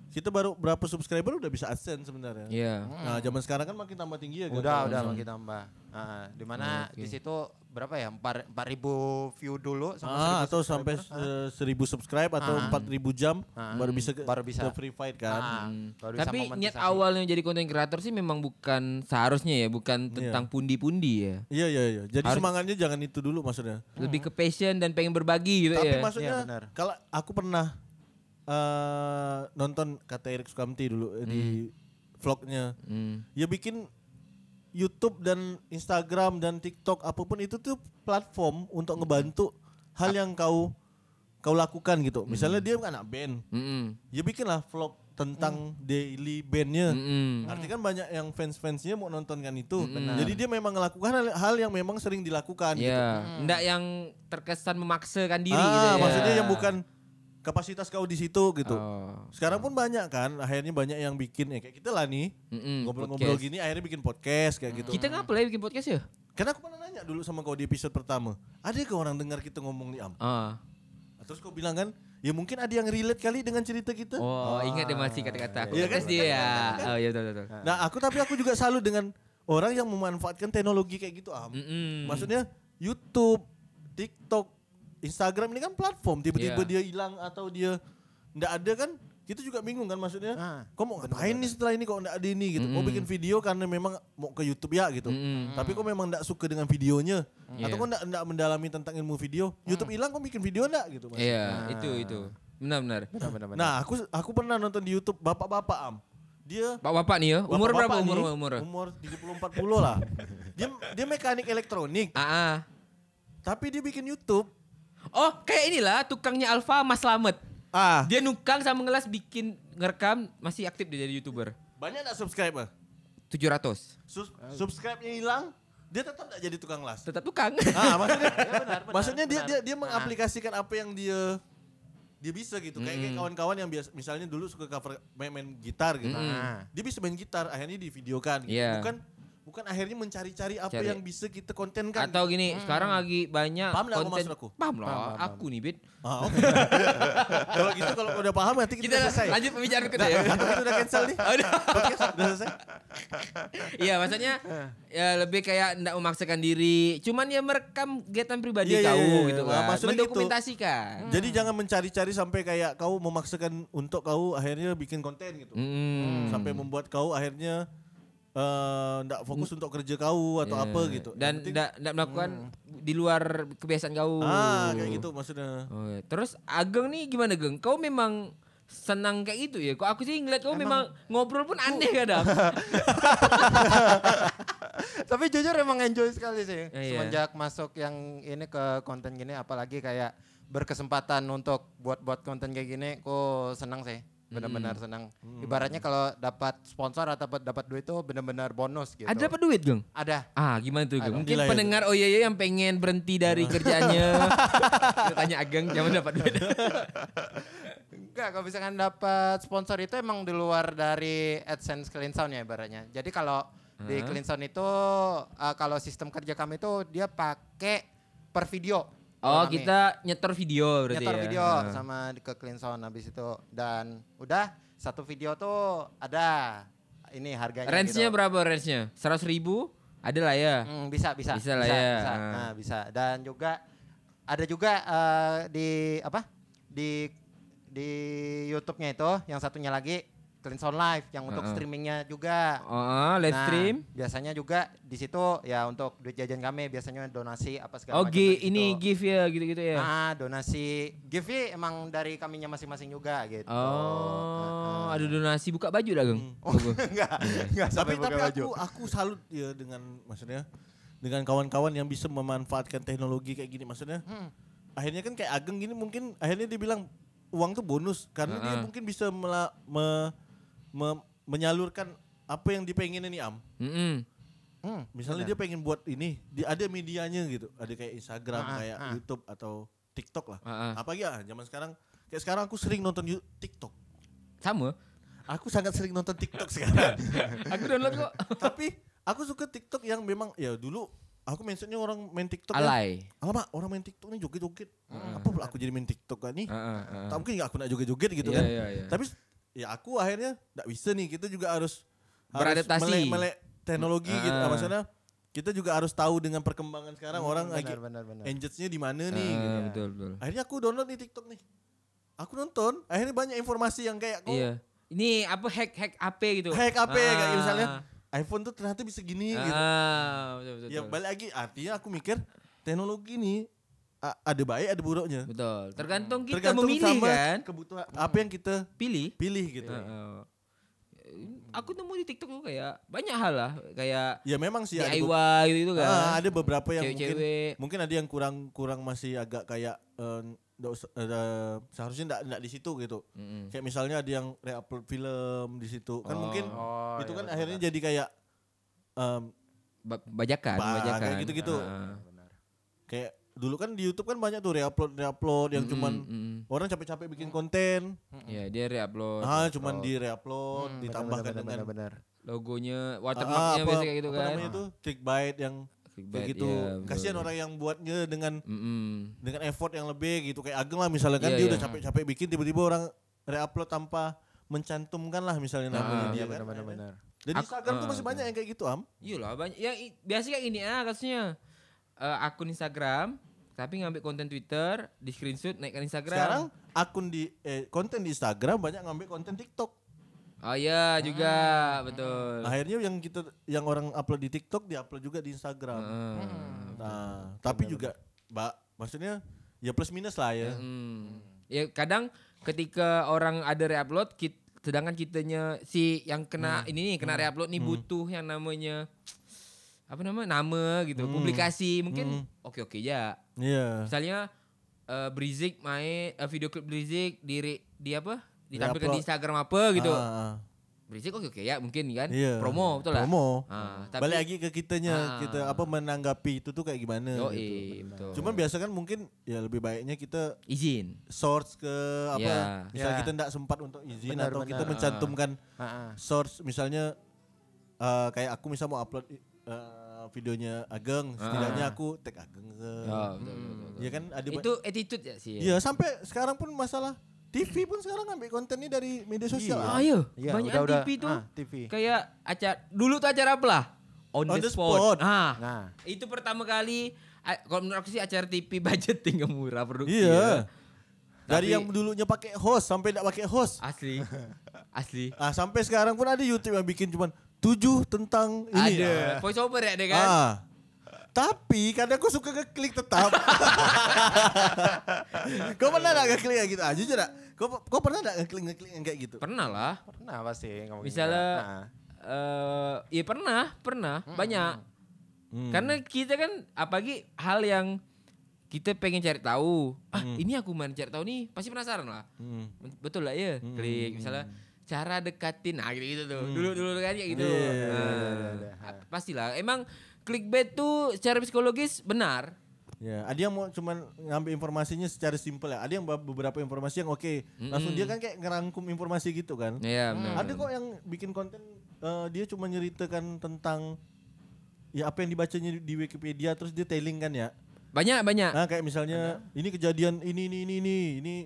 Speaker 3: Kita baru berapa subscriber udah bisa AdSense sebenarnya.
Speaker 2: Iya.
Speaker 3: Nah, zaman sekarang kan makin tambah tinggi
Speaker 2: gitu.
Speaker 3: ya kan.
Speaker 4: Udah, udah
Speaker 2: Hmm.
Speaker 4: makin tambah. Heeh, di mana di situ berapa ya? 4 4000 view
Speaker 3: Ah,
Speaker 4: dulu sama 1000
Speaker 3: atau sampai eh, 1000 subscribe atau 4000 jam
Speaker 4: Ah.
Speaker 3: baru bisa ke,
Speaker 4: Baru bisa.
Speaker 3: ke free fight kan.
Speaker 4: Ah, baru bisa
Speaker 2: Hmm. Tapi niat
Speaker 4: monetisasi.
Speaker 2: awalnya jadi konten kreator sih memang bukan seharusnya ya, bukan tentang pundi-pundi ya.
Speaker 3: Iya iya iya. Jadi
Speaker 2: Harus-
Speaker 3: semangatnya jangan itu dulu maksudnya.
Speaker 2: Lebih ke passion dan pengen berbagi gitu ya.
Speaker 3: Tapi maksudnya
Speaker 4: Iya, benar.
Speaker 3: kalau aku pernah eh, nonton kata Erik Sukamti dulu eh, di
Speaker 4: Hmm.
Speaker 3: vlognya.
Speaker 2: Hmm.
Speaker 3: Ya bikin YouTube dan Instagram dan TikTok apapun itu tuh platform untuk
Speaker 4: Hmm.
Speaker 3: ngebantu
Speaker 4: Ah.
Speaker 3: hal yang kau kau lakukan gitu.
Speaker 4: Hmm.
Speaker 3: Misalnya dia anak band,
Speaker 2: Mm-mm.
Speaker 3: ya bikinlah vlog tentang
Speaker 4: Hmm.
Speaker 3: daily bandnya.
Speaker 2: Mm-mm.
Speaker 3: Artinya kan banyak yang fans-fansnya mau nontonkan itu.
Speaker 4: Hmm,
Speaker 3: Jadi dia memang melakukan hal, hal yang memang sering dilakukan.
Speaker 2: Iya,
Speaker 4: Hmm.
Speaker 2: enggak yang terkesan memaksakan diri
Speaker 3: Kan gitu. ah,
Speaker 2: gitu ya.
Speaker 3: maksudnya yang bukan kapasitas kau di situ gitu.
Speaker 2: Oh.
Speaker 3: Sekarang pun banyak kan, akhirnya banyak yang bikin ya kayak kita lah nih.
Speaker 2: Mm-mm,
Speaker 3: Ngobrol-ngobrol
Speaker 2: podcast.
Speaker 3: gini akhirnya bikin podcast kayak gitu.
Speaker 2: Kita ngapa lah bikin podcast ya?
Speaker 3: Karena aku pernah nanya dulu sama kau di episode pertama, ada ke orang dengar kita ngomong nih am?
Speaker 2: Ah.
Speaker 3: Terus kau bilang kan, ya mungkin ada yang relate kali dengan cerita kita.
Speaker 2: Oh, ingat dia masih kata-kata aku.
Speaker 3: Iya
Speaker 2: Podcast dia ya. Oh, iya betul betul. betul.
Speaker 3: Nah aku tapi aku juga salut dengan orang yang memanfaatkan teknologi kayak gitu am.
Speaker 2: Mm-mm.
Speaker 3: Maksudnya YouTube, TikTok, Instagram ini kan platform.
Speaker 2: Iya.
Speaker 3: Tiba-tiba dia hilang atau dia ndak ada kan? Kita juga bingung kan maksudnya.
Speaker 4: Ah,
Speaker 3: kok mau ngapain nih setelah ini kok ndak ada ini gitu.
Speaker 2: Hmm.
Speaker 3: Kok bikin video karena memang mau ke YouTube ya gitu.
Speaker 4: Hmm.
Speaker 2: Mm-mm.
Speaker 3: Tapi kok memang ndak suka dengan videonya atau
Speaker 2: Hmm. Iya.
Speaker 3: kok ndak ndak mendalami tentang ilmu video.
Speaker 4: Hmm.
Speaker 3: YouTube hilang kok bikin video ndak gitu. Mas.
Speaker 2: Iya, itu itu. Benar benar.
Speaker 4: Benar, benar, benar.
Speaker 3: Nah, aku aku pernah nonton di YouTube bapak-bapak am. Dia
Speaker 2: Bapak-bapak nih ya, umur
Speaker 3: bapak-bapak
Speaker 2: berapa umur
Speaker 3: nih,
Speaker 2: umur?
Speaker 3: Umur 30 40
Speaker 4: (laughs)
Speaker 3: lah. dia dia mekanik elektronik,
Speaker 2: Ah, ah.
Speaker 3: tapi dia bikin YouTube.
Speaker 2: Oh, kayak inilah tukangnya Alfa Mas Slamet.
Speaker 3: Ah,
Speaker 2: Dia nukang sama ngelas bikin ngerekam masih aktif dia jadi YouTuber.
Speaker 3: Banyak gak subscriber?
Speaker 2: 700.
Speaker 3: Sus subscribe-nya hilang, dia tetap gak jadi tukang las.
Speaker 2: Tetap Nah. tukang.
Speaker 3: Ah, maksudnya,
Speaker 4: Iya,
Speaker 2: (laughs)
Speaker 4: benar, benar,
Speaker 3: maksudnya dia
Speaker 4: benar.
Speaker 3: dia dia mengaplikasikan apa yang dia dia bisa gitu. Kayak
Speaker 2: Hmm.
Speaker 3: kayak kawan-kawan yang biasa misalnya dulu suka cover main, main gitar gitu.
Speaker 4: Mm.
Speaker 3: Dia bisa main gitar, akhirnya di videokan
Speaker 2: Hmm.
Speaker 3: gitu.
Speaker 2: Nah. Iya.
Speaker 3: Bukan bukan akhirnya mencari-cari apa
Speaker 2: Cari.
Speaker 3: yang bisa kita kontenkan.
Speaker 2: (laughs) Atau gini, sekarang lagi banyak
Speaker 3: kan. Hmm. Paham nggak aku
Speaker 2: konten.
Speaker 3: maksud aku?
Speaker 2: Paham lah, aku nih, Bit.
Speaker 3: Ah, oke. (laughs) kalau gitu kalau udah paham nanti kita,
Speaker 2: Kita
Speaker 3: udah selesai.
Speaker 2: lanjut pembicaraan kita ya.
Speaker 3: Atau kita udah cancel nih. Podcast udah selesai.
Speaker 2: (laughs) Iya, maksudnya ya lebih kayak enggak memaksakan diri, cuman ya merekam kegiatan pribadi
Speaker 3: Iya, iya,
Speaker 2: kau
Speaker 3: iya,
Speaker 2: gitu
Speaker 3: iya. Nah,
Speaker 2: kan.
Speaker 3: maksudnya gitu.
Speaker 2: Mendokumentasikan.
Speaker 3: Jadi jangan mencari-cari sampai kayak kau memaksakan untuk kau akhirnya bikin konten gitu.
Speaker 2: Hmm.
Speaker 3: Sampai membuat kau akhirnya eh ndak fokus untuk kerja kau atau
Speaker 2: Hmm. Iya.
Speaker 3: apa gitu. Yang
Speaker 2: Dan
Speaker 3: penting-
Speaker 2: enggak melakukan
Speaker 4: Hmm.
Speaker 2: di luar kebiasaan kau.
Speaker 3: ah kayak gitu maksudnya.
Speaker 2: Oh, ya. Terus Ageng nih gimana Geng? Kau memang senang kayak gitu ya? Kok aku sih ngeliat kau memang ngobrol pun aneh kadang.
Speaker 4: Tapi jujur emang enjoy sekali sih.
Speaker 2: Iya.
Speaker 4: Semenjak masuk yang ini ke konten gini apalagi kayak berkesempatan untuk buat-buat konten kayak gini, ku senang sih.
Speaker 2: Hmm.
Speaker 4: Benar-benar senang. Ibaratnya kalau dapat sponsor atau dapat dapat duit itu benar-benar bonus (laughs) gitu.
Speaker 2: Ada apa duit Geng?
Speaker 4: Ada.
Speaker 2: Ah gimana tuh Geng?
Speaker 4: Aduh,
Speaker 2: Mungkin
Speaker 3: gila ya
Speaker 2: pendengar oh iya iya yang pengen berhenti dari
Speaker 4: (laughs)
Speaker 2: kerjaannya. Kita tanya Ageng jangan dapat duit.
Speaker 4: Enggak, kalau misalkan dapat sponsor itu emang di luar dari AdSense Clean Sound ya ibaratnya. Jadi kalau
Speaker 2: Hmm.
Speaker 4: di Clean Sound itu eh, kalau sistem kerja kami itu dia pakai per video.
Speaker 2: (laughs) Oh
Speaker 4: Kami
Speaker 2: kita nyetor video berarti
Speaker 4: nyetor
Speaker 2: ya?
Speaker 4: video
Speaker 2: Ah.
Speaker 4: sama di- ke Clean Sound habis itu dan udah satu video tuh ada ini harganya
Speaker 2: Range-nya
Speaker 4: gitu.
Speaker 2: berapa range-nya? 100 ribu? Ada lah ya?
Speaker 4: Hmm, bisa bisa
Speaker 2: Bisa lah ya,
Speaker 4: bisa.
Speaker 2: ah.
Speaker 4: Nah, bisa. Dan juga ada juga eh, di apa? Di di YouTube-nya itu yang satunya lagi Clean Sound Live yang untuk
Speaker 2: Ah, ah.
Speaker 4: streamingnya juga.
Speaker 2: Oh, ah, live
Speaker 4: Nah,
Speaker 2: stream?
Speaker 4: Biasanya juga di situ ya untuk duit jajan kami biasanya donasi apa segala
Speaker 2: Oh
Speaker 4: macam
Speaker 2: gi-
Speaker 4: dari situ.
Speaker 2: ini give ya gitu-gitu ya?
Speaker 4: Ah, donasi gift emang dari kaminya masing-masing juga
Speaker 2: Oh,
Speaker 4: gitu. Ah, ah.
Speaker 2: ada donasi buka baju lah Geng? Geng.
Speaker 4: (laughs) enggak, enggak Oh, sampai
Speaker 3: tapi tapi
Speaker 4: pakai
Speaker 3: aku aku salut ya dengan maksudnya dengan kawan-kawan yang bisa memanfaatkan teknologi kayak gini maksudnya
Speaker 2: Hmm.
Speaker 3: akhirnya kan kayak Ageng gini mungkin akhirnya dia bilang uang tuh bonus karena dia
Speaker 2: Heeh.
Speaker 3: mungkin bisa mela- me- me- menyalurkan apa yang dipengenin nih Am
Speaker 2: Mm-mm.
Speaker 4: Hmm,
Speaker 3: misalnya dia pengen buat ini dia ada medianya gitu ada kayak Instagram
Speaker 2: Ah,
Speaker 3: kayak YouTube atau TikTok lah
Speaker 2: Heeh.
Speaker 3: apa ya zaman sekarang kayak sekarang aku sering nonton Yu- TikTok
Speaker 2: Sama?
Speaker 3: aku sangat sering nonton TikTok
Speaker 2: (laughs)
Speaker 3: sekarang
Speaker 2: Aku download (laughs) kok.
Speaker 3: Tapi aku suka TikTok yang memang ya dulu aku mentionnya orang main TikTok ya.
Speaker 2: Alay. Hmm.
Speaker 3: Alamak, orang main TikTok nih joget-joget. Apa pula aku jadi main TikTok kan nih?
Speaker 2: Heeh, heeh.
Speaker 3: Tak mungkin nggak aku nak joget-joget gitu
Speaker 2: Ah, Iya,
Speaker 3: kan.
Speaker 2: iya, iya.
Speaker 3: Tapi ya aku akhirnya nggak bisa nih. Kita juga harus harus
Speaker 2: Beradaptasi.
Speaker 3: melek, melek teknologi gitu.
Speaker 2: Ah.
Speaker 3: Maksudnya kita juga harus tahu dengan perkembangan sekarang orang lagi
Speaker 4: benar, benar, benar.
Speaker 3: engagenya di mana nih
Speaker 2: Ah,
Speaker 3: gitu.
Speaker 2: betul betul.
Speaker 3: Akhirnya aku download nih TikTok nih. Aku nonton, akhirnya banyak informasi yang kayak kok
Speaker 2: Iya. Ini apa hack hack HP gitu.
Speaker 3: Oh. hack HP kayak
Speaker 2: Ah.
Speaker 3: misalnya iPhone tuh ternyata bisa gini gitu.
Speaker 2: Ah, betul betul.
Speaker 3: Ya
Speaker 2: betul.
Speaker 3: balik lagi artinya aku mikir teknologi ini a- ada baik ada buruknya.
Speaker 2: Betul. Tergantung kita memilih
Speaker 3: sama
Speaker 2: kan. Ah,
Speaker 3: kebutuhan apa yang kita
Speaker 2: Pilih.
Speaker 3: pilih gitu.
Speaker 2: Heeh. Aku nemu di TikTok tuh kayak banyak hal lah kayak
Speaker 3: Ya memang sih ada,
Speaker 2: DIY
Speaker 3: be-
Speaker 2: gitu, gitu kan.
Speaker 3: Ah, ada beberapa yang
Speaker 2: Cewek-cewek.
Speaker 3: mungkin mungkin ada yang kurang kurang masih agak kayak eh, ndak usah- eh, seharusnya enggak enggak di situ gitu.
Speaker 2: Mm-mm.
Speaker 3: Kayak misalnya ada yang reupload film di situ. Kan
Speaker 2: Oh.
Speaker 3: mungkin
Speaker 4: Oh,
Speaker 3: itu kan
Speaker 4: iya, betul,
Speaker 3: akhirnya jadi kayak em,
Speaker 2: Ba- bajakan,
Speaker 3: Bah, kayak
Speaker 2: bajakan.
Speaker 3: gitu-gitu.
Speaker 2: Ah.
Speaker 3: kayak dulu kan di YouTube kan banyak tuh reupload reupload yang cuman
Speaker 2: Mm-mm.
Speaker 3: orang capek-capek bikin konten.
Speaker 2: Ya, dia reupload Mm,
Speaker 3: Ah, cuman di reupload,
Speaker 4: Hmm,
Speaker 3: ditambahkan
Speaker 4: benar, benar,
Speaker 3: kan dengan
Speaker 4: benar, benar.
Speaker 2: logonya,
Speaker 3: ah,
Speaker 2: watermarknya biasa
Speaker 3: apa-
Speaker 2: kayak gitu
Speaker 3: apa
Speaker 2: kan.
Speaker 3: namanya itu clickbait yang kayak
Speaker 2: Clickbait,
Speaker 3: gitu.
Speaker 2: iya,
Speaker 3: Kasihan
Speaker 2: betul.
Speaker 3: orang yang buatnya dengan
Speaker 2: Mm-mm.
Speaker 3: dengan effort yang lebih gitu kayak Ageng lah misalnya kan
Speaker 2: Iya,
Speaker 3: dia
Speaker 2: iya.
Speaker 3: udah capek-capek bikin tiba-tiba orang reupload tanpa mencantumkan lah misalnya
Speaker 2: Ah,
Speaker 3: namanya dia
Speaker 4: Iya,
Speaker 3: kan.
Speaker 4: benar, benar,
Speaker 3: akhirnya.
Speaker 4: benar.
Speaker 3: Dan di
Speaker 2: Aku-
Speaker 3: Instagram tuh
Speaker 2: ah,
Speaker 3: masih banyak yang kayak gitu, Am.
Speaker 2: Iyalah banyak. Ya i- biasa kayak gini ah kasusnya. Eh, akun Instagram tapi ngambil konten Twitter, di screenshot naikkan
Speaker 3: Sekarang
Speaker 2: Instagram.
Speaker 3: akun di eh, konten di Instagram banyak ngambil konten TikTok.
Speaker 2: Oh iya juga,
Speaker 3: Ah.
Speaker 2: betul.
Speaker 3: Akhirnya yang kita yang orang upload di TikTok diupload juga di Instagram.
Speaker 2: Heeh.
Speaker 3: Nah, tapi juga Mbak, maksudnya ya plus minus lah ya.
Speaker 2: Hmm. Ya kadang ketika orang ada reupload kit- sedangkan kitanya si yang kena
Speaker 3: Hmm.
Speaker 2: ini nih kena reupload nih butuh yang namanya apa nama nama gitu
Speaker 3: Hmm.
Speaker 2: publikasi mungkin oke oke ya
Speaker 3: Iya.
Speaker 2: misalnya eh, Brizik main eh, video klip Brizik di re- di apa ditampilkan di
Speaker 3: Reupload.
Speaker 2: Instagram apa gitu
Speaker 3: Ah, ah.
Speaker 2: Brizik oke oke ya mungkin kan
Speaker 3: Iya.
Speaker 2: promo betul lah
Speaker 3: Promo.
Speaker 2: Ah, tapi
Speaker 3: Balik lagi ke kitanya,
Speaker 2: Ah.
Speaker 3: kita apa menanggapi itu tuh kayak gimana
Speaker 2: Yoi,
Speaker 3: gitu.
Speaker 2: betul.
Speaker 3: Cuman biasa kan mungkin ya lebih baiknya kita
Speaker 2: izin
Speaker 3: source ke apa
Speaker 2: Ya.
Speaker 3: misal
Speaker 4: Ya.
Speaker 3: kita tidak sempat untuk izin
Speaker 4: Benar,
Speaker 3: atau kita
Speaker 4: benar.
Speaker 3: mencantumkan
Speaker 4: Ah, ah.
Speaker 3: source misalnya eh, kayak aku misal mau upload eh, eh, videonya Ageng, setidaknya aku tag Ageng. ke.
Speaker 2: Oh, Ah. betul,
Speaker 4: Hmm.
Speaker 2: betul, betul, betul.
Speaker 3: Ya kan ada
Speaker 2: Itu attitude ya sih.
Speaker 3: Iya, sampai sekarang pun masalah TV pun sekarang ambil konten ini dari media sosial.
Speaker 2: Ah, iya.
Speaker 4: Iya,
Speaker 2: Banyak
Speaker 4: udah-udah.
Speaker 2: TV tuh.
Speaker 4: Ah, TV.
Speaker 2: Kayak acara dulu tuh acara apa lah? On,
Speaker 3: On
Speaker 2: the,
Speaker 3: the
Speaker 2: spot.
Speaker 3: spot.
Speaker 2: Ah,
Speaker 4: Nah.
Speaker 2: Itu pertama kali a- kalau menurut aku sih acara (laughs) TV budgeting yang murah produksi.
Speaker 3: Iya.
Speaker 2: Tapi-
Speaker 3: Dari yang dulunya pakai host sampai tidak pakai host.
Speaker 2: ya. Asli. Asli.
Speaker 3: Ah, sampai sekarang pun ada YouTube yang bikin cuman tujuh tentang ini.
Speaker 2: Ada. Voice over ya deh kan?
Speaker 3: Ah. Tapi kadang aku suka ngeklik
Speaker 2: (laughs)
Speaker 3: tetap. kau pernah gak ngeklik kayak gitu? Ah, jujur gak? Kau, kau pernah gak ngeklik ngeklik yang kayak gitu?
Speaker 2: Pernah lah.
Speaker 4: Pernah pasti. ngomongin
Speaker 2: Misalnya ah,
Speaker 4: gitu. Nah.
Speaker 2: eh iya pernah, pernah, banyak.
Speaker 3: Hmm.
Speaker 2: Karena kita kan apalagi hal yang kita pengen cari tahu. Ah, ini aku main cari tahu nih, pasti penasaran lah.
Speaker 3: Hmm.
Speaker 2: Betul lah ya. Klik misalnya cara dekatin nah gitu, gitu tuh. Dulu dulu kan kayak gitu. Nah, a- Pastilah. Emang clickbait tuh secara psikologis benar.
Speaker 3: Ya, ada yang mau cuman ngambil informasinya secara simpel ya. Ada yang be- beberapa informasi yang oke, langsung dia kan kayak ngerangkum informasi gitu kan.
Speaker 2: Hmm. Iya, benar.
Speaker 3: Ada kok yang bikin konten eh, dia cuma nyeritakan tentang ya apa yang dibacanya di, di Wikipedia terus dia tailing kan ya.
Speaker 2: Banyak banyak.
Speaker 3: Nah, kayak misalnya ini kejadian ini ini ini ini ini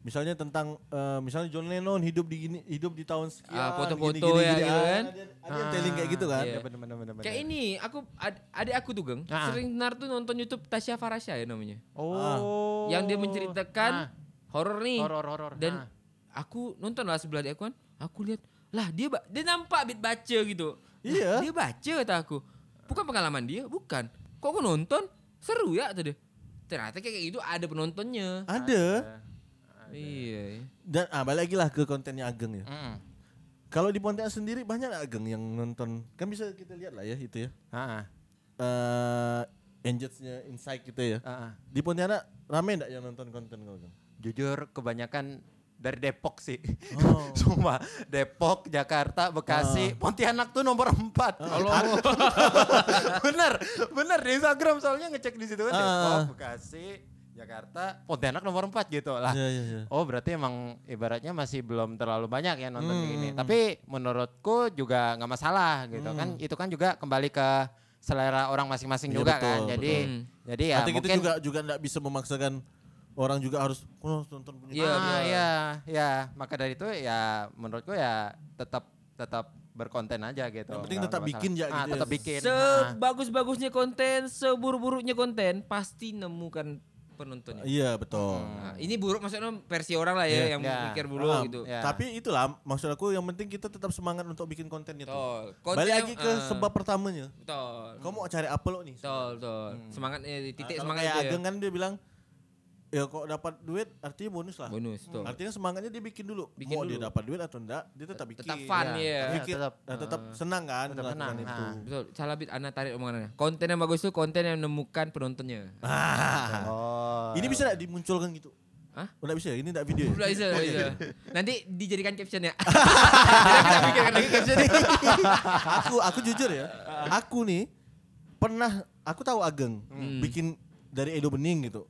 Speaker 3: misalnya tentang eh, misalnya John Lennon hidup di gini- hidup di tahun sekian
Speaker 2: Ah, foto-foto
Speaker 3: gini-gini,
Speaker 2: ya
Speaker 3: gini.
Speaker 2: gitu
Speaker 3: Ah,
Speaker 2: kan. Ah,
Speaker 3: Ada, ada yang tailing kayak gitu kan.
Speaker 4: Iya, bener, bener, bener, bener.
Speaker 2: Kayak ini, aku ad- adik aku tuh, Geng.
Speaker 4: Ah.
Speaker 2: Sering benar tuh nonton YouTube Tasya Farasya ya namanya.
Speaker 4: Oh.
Speaker 2: yang dia menceritakan
Speaker 3: Nah.
Speaker 4: Ah.
Speaker 2: horor nih.
Speaker 4: Horor, horor,
Speaker 2: Dan
Speaker 4: ah.
Speaker 2: aku nonton lah sebelah dia aku kan. Aku lihat lah dia ba- dia nampak bit baca gitu. Lah,
Speaker 3: Iya.
Speaker 2: Dia baca kata aku. Bukan pengalaman dia, bukan. Kok aku nonton? Seru ya kata dia. Ternyata kayak gitu ada penontonnya.
Speaker 3: Ada.
Speaker 2: Iya.
Speaker 3: Dan ah balik lagi lah ke kontennya Ageng ya.
Speaker 4: Mm.
Speaker 3: Kalau di Pontianak sendiri banyak nggak, Ageng yang nonton. Kan bisa kita lihat lah ya itu ya.
Speaker 4: Ah,
Speaker 3: Eh Angelsnya Insight gitu ya.
Speaker 4: ah, ah.
Speaker 3: Di Pontianak rame nggak yang nonton konten kau, Ageng?
Speaker 4: Jujur kebanyakan dari Depok sih. (laughs) Cuma Depok, Jakarta, Bekasi, Pontianak tuh nomor empat. Kalau (laughs) bener, bener di Instagram soalnya ngecek di situ kan
Speaker 3: Ah.
Speaker 4: Depok, Bekasi, Jakarta, Pontianak nomor empat gitu
Speaker 2: Ah.
Speaker 4: lah.
Speaker 3: Iya, iya, iya.
Speaker 4: Oh berarti emang ibaratnya masih belum terlalu banyak ya
Speaker 3: Hmm,
Speaker 4: nonton kayak gini. Tapi menurutku juga nggak masalah gitu kan. Itu kan juga kembali ke selera orang masing-masing
Speaker 3: Hmm. Iya,
Speaker 4: juga
Speaker 3: betul,
Speaker 4: kan. Jadi,
Speaker 2: betul.
Speaker 4: jadi ya
Speaker 3: Nanti kita
Speaker 4: mungkin
Speaker 3: juga juga nggak bisa memaksakan orang juga harus oh, nonton punya
Speaker 2: Iya,
Speaker 4: ah,
Speaker 2: benar.
Speaker 4: ya, ya. Maka dari itu ya menurutku ya tetap tetap berkonten aja gitu.
Speaker 3: Yang penting
Speaker 4: Nggak
Speaker 3: tetap
Speaker 4: bermasalah.
Speaker 3: bikin ya
Speaker 4: Ah,
Speaker 3: gitu ya.
Speaker 4: tetap bikin. Ah.
Speaker 2: Sebagus-bagusnya konten, seburuk-buruknya konten, pasti nemukan penontonnya.
Speaker 3: Iya betul.
Speaker 2: Nah, ini buruk maksudnya versi orang lah ya yang
Speaker 4: Iya.
Speaker 2: mikir buruk
Speaker 3: Ah,
Speaker 2: gitu.
Speaker 4: Ya.
Speaker 3: Tapi itulah maksud aku yang penting kita tetap semangat untuk bikin konten itu.
Speaker 2: Betul. Oh, Konten
Speaker 3: Balik
Speaker 2: yang-
Speaker 3: lagi ke
Speaker 2: ah.
Speaker 3: sebab pertamanya.
Speaker 2: Betul.
Speaker 3: Kau mau cari apa lo nih?
Speaker 2: Betul, betul. Semangatnya di
Speaker 3: Nah,
Speaker 2: titik
Speaker 3: kalau
Speaker 2: semangat
Speaker 3: kayak
Speaker 2: itu ya.
Speaker 3: Ageng kan dia bilang ya kok dapat duit artinya bonus lah.
Speaker 4: Hmm.
Speaker 2: Bonus tuh.
Speaker 3: Artinya semangatnya dia bikin dulu.
Speaker 2: Bikin
Speaker 3: mau
Speaker 2: dulu.
Speaker 3: dia dapat duit atau enggak, dia tetap bikin.
Speaker 2: Tetap fun ya.
Speaker 3: Bikin,
Speaker 4: Tetap, eh,
Speaker 3: nah, tetap senang kan
Speaker 4: tetap
Speaker 3: melakukan
Speaker 4: senang,
Speaker 3: itu.
Speaker 2: Betul. Salah bit anak tarik omongannya. Konten yang bagus tuh konten yang menemukan penontonnya.
Speaker 3: Ah.
Speaker 4: Oh.
Speaker 3: (laughs) Ini bisa enggak dimunculkan gitu?
Speaker 2: Hah?
Speaker 3: Oh, enggak bisa ya? Ini enggak video ya?
Speaker 2: Udah bisa, udah bisa. Nanti dijadikan caption ya. Jadi kita pikirkan lagi captionnya.
Speaker 3: (laughs) aku aku jujur ya. Aku nih pernah aku tahu Ageng
Speaker 2: Hmm.
Speaker 3: bikin dari Edo Bening gitu.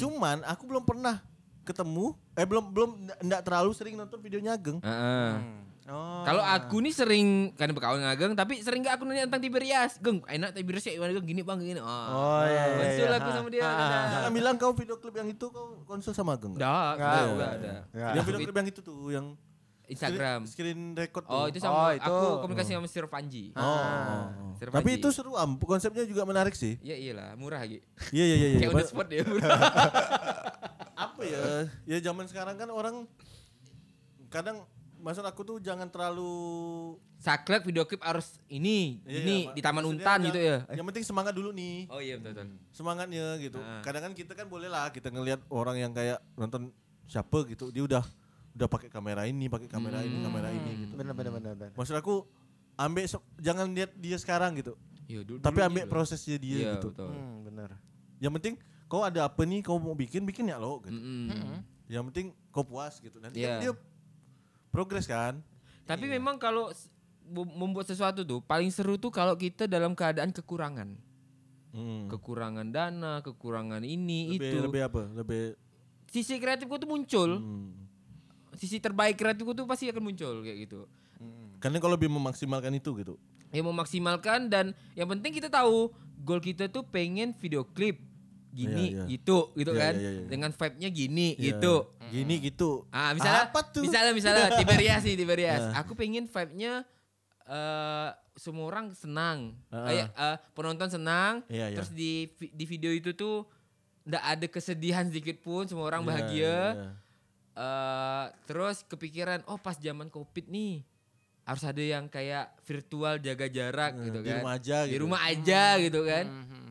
Speaker 3: Cuman aku belum pernah ketemu eh belum belum enggak terlalu sering nonton videonya Ageng.
Speaker 2: Heeh.
Speaker 4: Oh.
Speaker 2: Kalau aku nih sering karena berkawan dengan Ageng, tapi sering gak aku nanya tentang Tiberias. Geng, enak Tiberias ya gimana Geng? Gini bang, gini. Ah.
Speaker 4: Oh iya, iya,
Speaker 2: Konsul
Speaker 4: iya.
Speaker 2: aku
Speaker 4: Ah.
Speaker 2: sama dia.
Speaker 3: Jangan bilang kau video klip yang itu kau konsul sama Ageng. nggak?
Speaker 2: Enggak, enggak,
Speaker 4: Nggak,
Speaker 2: enggak ada.
Speaker 4: nggak.
Speaker 3: Yang video klip yang itu tuh yang
Speaker 2: Instagram.
Speaker 3: screen, screen record tuh.
Speaker 2: Oh, itu
Speaker 4: Oh,
Speaker 2: sama
Speaker 4: itu.
Speaker 2: aku komunikasi sama Sir Panji.
Speaker 3: Oh, oh, oh.
Speaker 2: Sir
Speaker 3: Tapi
Speaker 2: Panji.
Speaker 3: itu seru am, konsepnya juga menarik sih.
Speaker 2: Ya iyalah, murah lagi.
Speaker 3: Iya iya iya. iya.
Speaker 2: Kayak ya, on the spot dia (laughs) murah.
Speaker 3: apa ya ya zaman sekarang kan orang kadang maksud aku tuh jangan terlalu
Speaker 2: Saklek video klip harus ini,
Speaker 3: Iya,
Speaker 2: ini
Speaker 3: Pak.
Speaker 2: di Taman
Speaker 3: Maksudnya
Speaker 2: Untan
Speaker 3: yang-
Speaker 2: gitu ya.
Speaker 3: Yang penting semangat dulu nih.
Speaker 2: Oh iya betul betul.
Speaker 3: Semangatnya gitu.
Speaker 2: Ah.
Speaker 3: Kadang kan kita kan boleh lah kita ngelihat orang yang kayak nonton siapa gitu, dia udah udah pakai kamera ini, pakai kamera ini,
Speaker 2: Hmm.
Speaker 3: kamera ini gitu.
Speaker 4: Bener bener bener bener.
Speaker 3: Maksud aku ambil se- jangan lihat dia sekarang gitu,
Speaker 2: Iya dulu.
Speaker 3: tapi
Speaker 2: dulunya
Speaker 3: ambil
Speaker 2: loh.
Speaker 3: prosesnya dia
Speaker 2: Iya,
Speaker 3: gitu.
Speaker 2: Betul.
Speaker 4: Hmm, bener.
Speaker 3: Yang penting kau ada apa nih kau mau bikin, bikin ya lo gitu.
Speaker 2: Mm-mm.
Speaker 3: Yang penting kau puas gitu.
Speaker 2: Hmm.
Speaker 3: Nanti
Speaker 2: Iya.
Speaker 3: kan dia progres kan.
Speaker 2: Tapi memang kalau s- bu- membuat sesuatu tuh paling seru tuh kalau kita dalam keadaan kekurangan.
Speaker 3: Hmm.
Speaker 2: Kekurangan dana, kekurangan ini
Speaker 3: Lebih,
Speaker 2: itu.
Speaker 3: lebih apa? Lebih
Speaker 2: Sisi kreatifku tuh muncul.
Speaker 3: hmm.
Speaker 2: Sisi terbaik kreatifku tuh pasti akan muncul kayak gitu.
Speaker 3: Karena kau lebih memaksimalkan itu gitu.
Speaker 2: ya memaksimalkan dan yang penting kita tahu goal kita tuh pengen video klip gini
Speaker 3: Iya, iya.
Speaker 2: gitu gitu
Speaker 3: Iya,
Speaker 2: kan
Speaker 3: iya, iya, iya.
Speaker 2: dengan vibe-nya gini
Speaker 3: Iya.
Speaker 2: gitu
Speaker 3: Gini gitu.
Speaker 2: Ah, misalnya
Speaker 3: Apa tuh? Iya.
Speaker 2: misalnya misalnya
Speaker 3: (laughs)
Speaker 2: Tiberias nih Tiberias. Aku pengen vibe-nya eh semua orang senang.
Speaker 3: Heeh.
Speaker 2: Kayak eh, penonton senang,
Speaker 3: Iya, iya.
Speaker 2: terus di vi- di video itu tuh ndak ada kesedihan sedikit pun, semua orang
Speaker 3: Iya,
Speaker 2: bahagia.
Speaker 3: iya.
Speaker 2: Eh, terus kepikiran, oh pas zaman Covid nih harus ada yang kayak virtual jaga jarak gitu
Speaker 3: Nah, di
Speaker 2: kan.
Speaker 3: rumah aja
Speaker 2: Di
Speaker 3: gitu.
Speaker 2: rumah aja gitu kan.
Speaker 4: Mhm.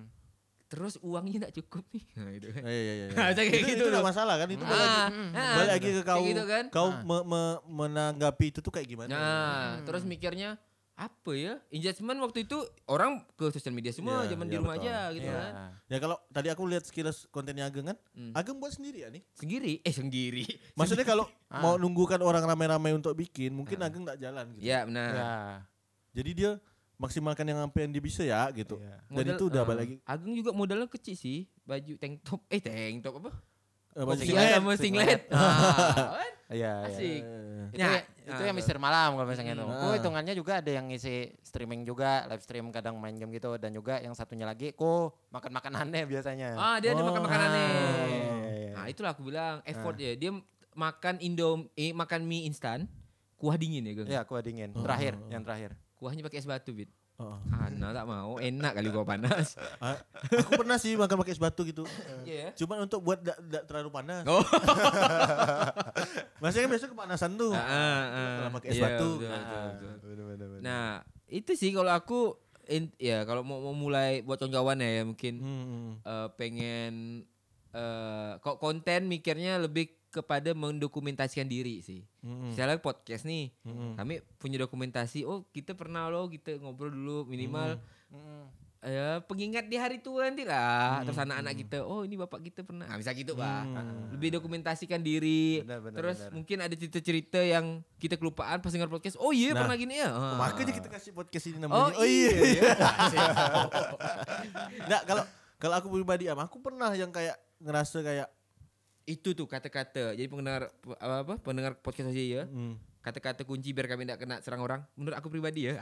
Speaker 2: Terus uangnya ndak cukup nih. (laughs) Nah, gitu kan.
Speaker 3: Iya, iya, iya.
Speaker 2: (laughs) Nah,
Speaker 3: Itu,
Speaker 2: kayak
Speaker 3: ya, itu,
Speaker 2: gitu
Speaker 3: nggak
Speaker 2: loh.
Speaker 3: masalah kan? Itu balik lagi-
Speaker 2: Ah, ah,
Speaker 3: balik lagi ke
Speaker 2: kayak
Speaker 3: kau.
Speaker 2: gitu kan. Ah.
Speaker 3: Kau me- me- menanggapi itu tuh kayak gimana?
Speaker 2: Nah, terus mikirnya apa ya? Engagement waktu itu orang ke sosial media semua,
Speaker 3: Iya,
Speaker 2: zaman di
Speaker 3: iya,
Speaker 2: rumah
Speaker 3: betul.
Speaker 2: aja gitu
Speaker 4: Iya.
Speaker 2: kan.
Speaker 3: Ya kalau tadi aku lihat sekilas kontennya Ageng kan,
Speaker 2: Hmm.
Speaker 3: Ageng buat sendiri ya nih.
Speaker 2: Sendiri, eh sendiri.
Speaker 3: Maksudnya kalau
Speaker 2: Ah.
Speaker 3: mau nunggukan orang ramai-ramai untuk bikin, mungkin Ageng nggak jalan gitu.
Speaker 2: (laughs) ya, benar.
Speaker 4: Ya.
Speaker 3: Jadi dia maksimalkan yang apa yang dia bisa ya gitu.
Speaker 4: Iya.
Speaker 3: Dan
Speaker 2: Modal-
Speaker 3: itu udah
Speaker 2: eh,
Speaker 3: balik lagi.
Speaker 2: Agung juga modalnya kecil sih, baju tank top, eh tank top apa?
Speaker 3: Eh, baju
Speaker 2: Kopiah
Speaker 3: singlet.
Speaker 2: sama
Speaker 4: (laughs)
Speaker 2: singlet. Ah, kan?
Speaker 4: Iya. iya.
Speaker 3: Eh,
Speaker 2: Asik.
Speaker 4: Itu,
Speaker 2: Ya,
Speaker 3: Nah,
Speaker 4: ya, itu yang Mister Malam kalau misalnya itu.
Speaker 3: Hmm.
Speaker 4: Ku hitungannya juga ada yang ngisi streaming juga, live stream kadang main game gitu dan juga yang satunya lagi ku makan-makan aneh biasanya.
Speaker 2: Ah, dia ada
Speaker 3: Oh.
Speaker 2: makan makanannya.
Speaker 4: Iya, iya. Ah.
Speaker 2: Nah, itulah aku bilang effort ya. Dia makan indom, eh, makan mie instan, kuah dingin ya, Gang.
Speaker 4: Iya, kuah dingin. Terakhir,
Speaker 3: Ah.
Speaker 4: yang terakhir.
Speaker 2: Kuahnya pakai es batu, Bit.
Speaker 3: Oh.
Speaker 2: Ana tak mau, enak kali gua
Speaker 4: (laughs)
Speaker 2: panas.
Speaker 3: Ah, aku pernah sih makan pakai es batu gitu.
Speaker 2: Iya.
Speaker 3: Cuman untuk buat gak, gak terlalu panas.
Speaker 2: Oh.
Speaker 3: (laughs) Maksudnya kan biasanya kepanasan tuh.
Speaker 2: Ah, ah, ah.
Speaker 3: Kalau pakai es
Speaker 2: Iya,
Speaker 3: batu.
Speaker 2: betul,
Speaker 3: Ah.
Speaker 2: betul, betul. Nah, itu sih kalau aku in- ya kalau mau, mau mulai buat kawan ya, ya mungkin
Speaker 3: Hmm.
Speaker 2: eh, pengen eh, kok konten mikirnya lebih kepada mendokumentasikan diri sih.
Speaker 3: Hmm.
Speaker 2: Misalnya podcast nih,
Speaker 3: Hmm.
Speaker 2: kami punya dokumentasi. Oh, kita pernah loh kita ngobrol dulu minimal
Speaker 4: Mm.
Speaker 2: ya pengingat di hari tua nanti lah terus anak-anak kita oh ini bapak kita pernah nah, bisa gitu pak lebih dokumentasikan diri
Speaker 4: Benar, benar,
Speaker 2: terus
Speaker 4: benar.
Speaker 2: mungkin ada cerita-cerita yang kita kelupaan pas dengar podcast oh iya
Speaker 3: Nah.
Speaker 2: pernah gini ya Ah.
Speaker 3: Makanya kita kasih podcast ini
Speaker 2: oh,
Speaker 3: namanya.
Speaker 2: iya,
Speaker 3: Nggak, kalau kalau aku pribadi am, aku pernah yang kayak ngerasa kayak
Speaker 2: itu tuh kata-kata jadi pendengar apa, apa pendengar podcast aja ya
Speaker 3: hmm.
Speaker 2: kata-kata kunci biar kami tidak kena serang orang menurut aku pribadi ya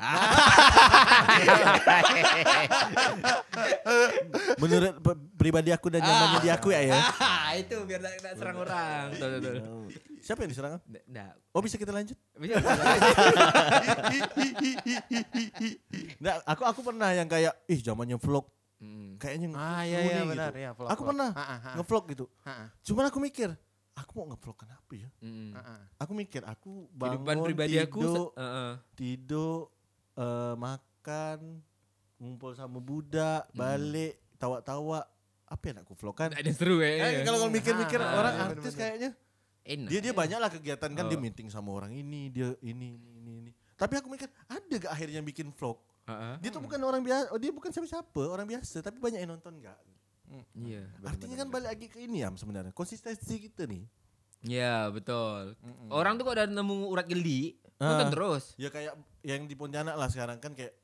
Speaker 3: menurut pe- pribadi aku dan nyamannya di aku ya ya.
Speaker 2: Ah, itu biar tidak kena serang orang tuh, tuh, tuh.
Speaker 3: Siapa yang diserang? Am?
Speaker 2: Nggak- nggak.
Speaker 3: Oh bisa kita lanjut?
Speaker 2: Bisa- bisa-
Speaker 3: Nggak, aku aku pernah yang kayak ih zamannya vlog
Speaker 2: Hmm.
Speaker 3: kayaknya nge-
Speaker 4: Ah, iya,
Speaker 3: seru
Speaker 4: iya,
Speaker 3: nih,"
Speaker 4: benar,
Speaker 3: gitu.
Speaker 4: iya, vlog,
Speaker 3: aku
Speaker 4: vlog.
Speaker 3: pernah
Speaker 4: Ah, ah, ah.
Speaker 3: ngevlog gitu.
Speaker 4: Ha-ha,
Speaker 3: Cuman aku mikir, aku mau ngevlog kenapa ya?
Speaker 2: Hmm.
Speaker 4: ha-ha.
Speaker 3: Aku mikir aku bangun
Speaker 2: kehidupan pribadi aku
Speaker 3: tidur,
Speaker 2: se- eh, eh.
Speaker 3: tidur eh, makan ngumpul sama budak
Speaker 2: Hmm.
Speaker 3: balik tawa-tawa apa yang aku vlog kan
Speaker 2: Nggak ada yang seru ya
Speaker 3: Eh, kalau kalau mikir-mikir
Speaker 2: Ah,
Speaker 3: orang
Speaker 4: iya,
Speaker 3: artis
Speaker 4: bener-bener.
Speaker 3: kayaknya
Speaker 2: enak
Speaker 3: dia dia banyak lah kegiatan kan dia
Speaker 2: iya. Oh.
Speaker 3: meeting sama orang ini dia ini ini ini ini tapi aku mikir ada gak akhirnya bikin vlog
Speaker 2: Heeh.
Speaker 3: dia tuh bukan orang biasa dia bukan siapa-siapa orang biasa tapi banyak yang nonton gak
Speaker 2: Iya.
Speaker 3: artinya kan balik lagi ke ini ya sebenarnya konsistensi kita nih
Speaker 2: Iya Ya, betul. Orang tuh kok udah nemu urat geli nonton
Speaker 3: Ah.
Speaker 2: terus.
Speaker 3: ya kayak yang di Pontianak lah sekarang kan kayak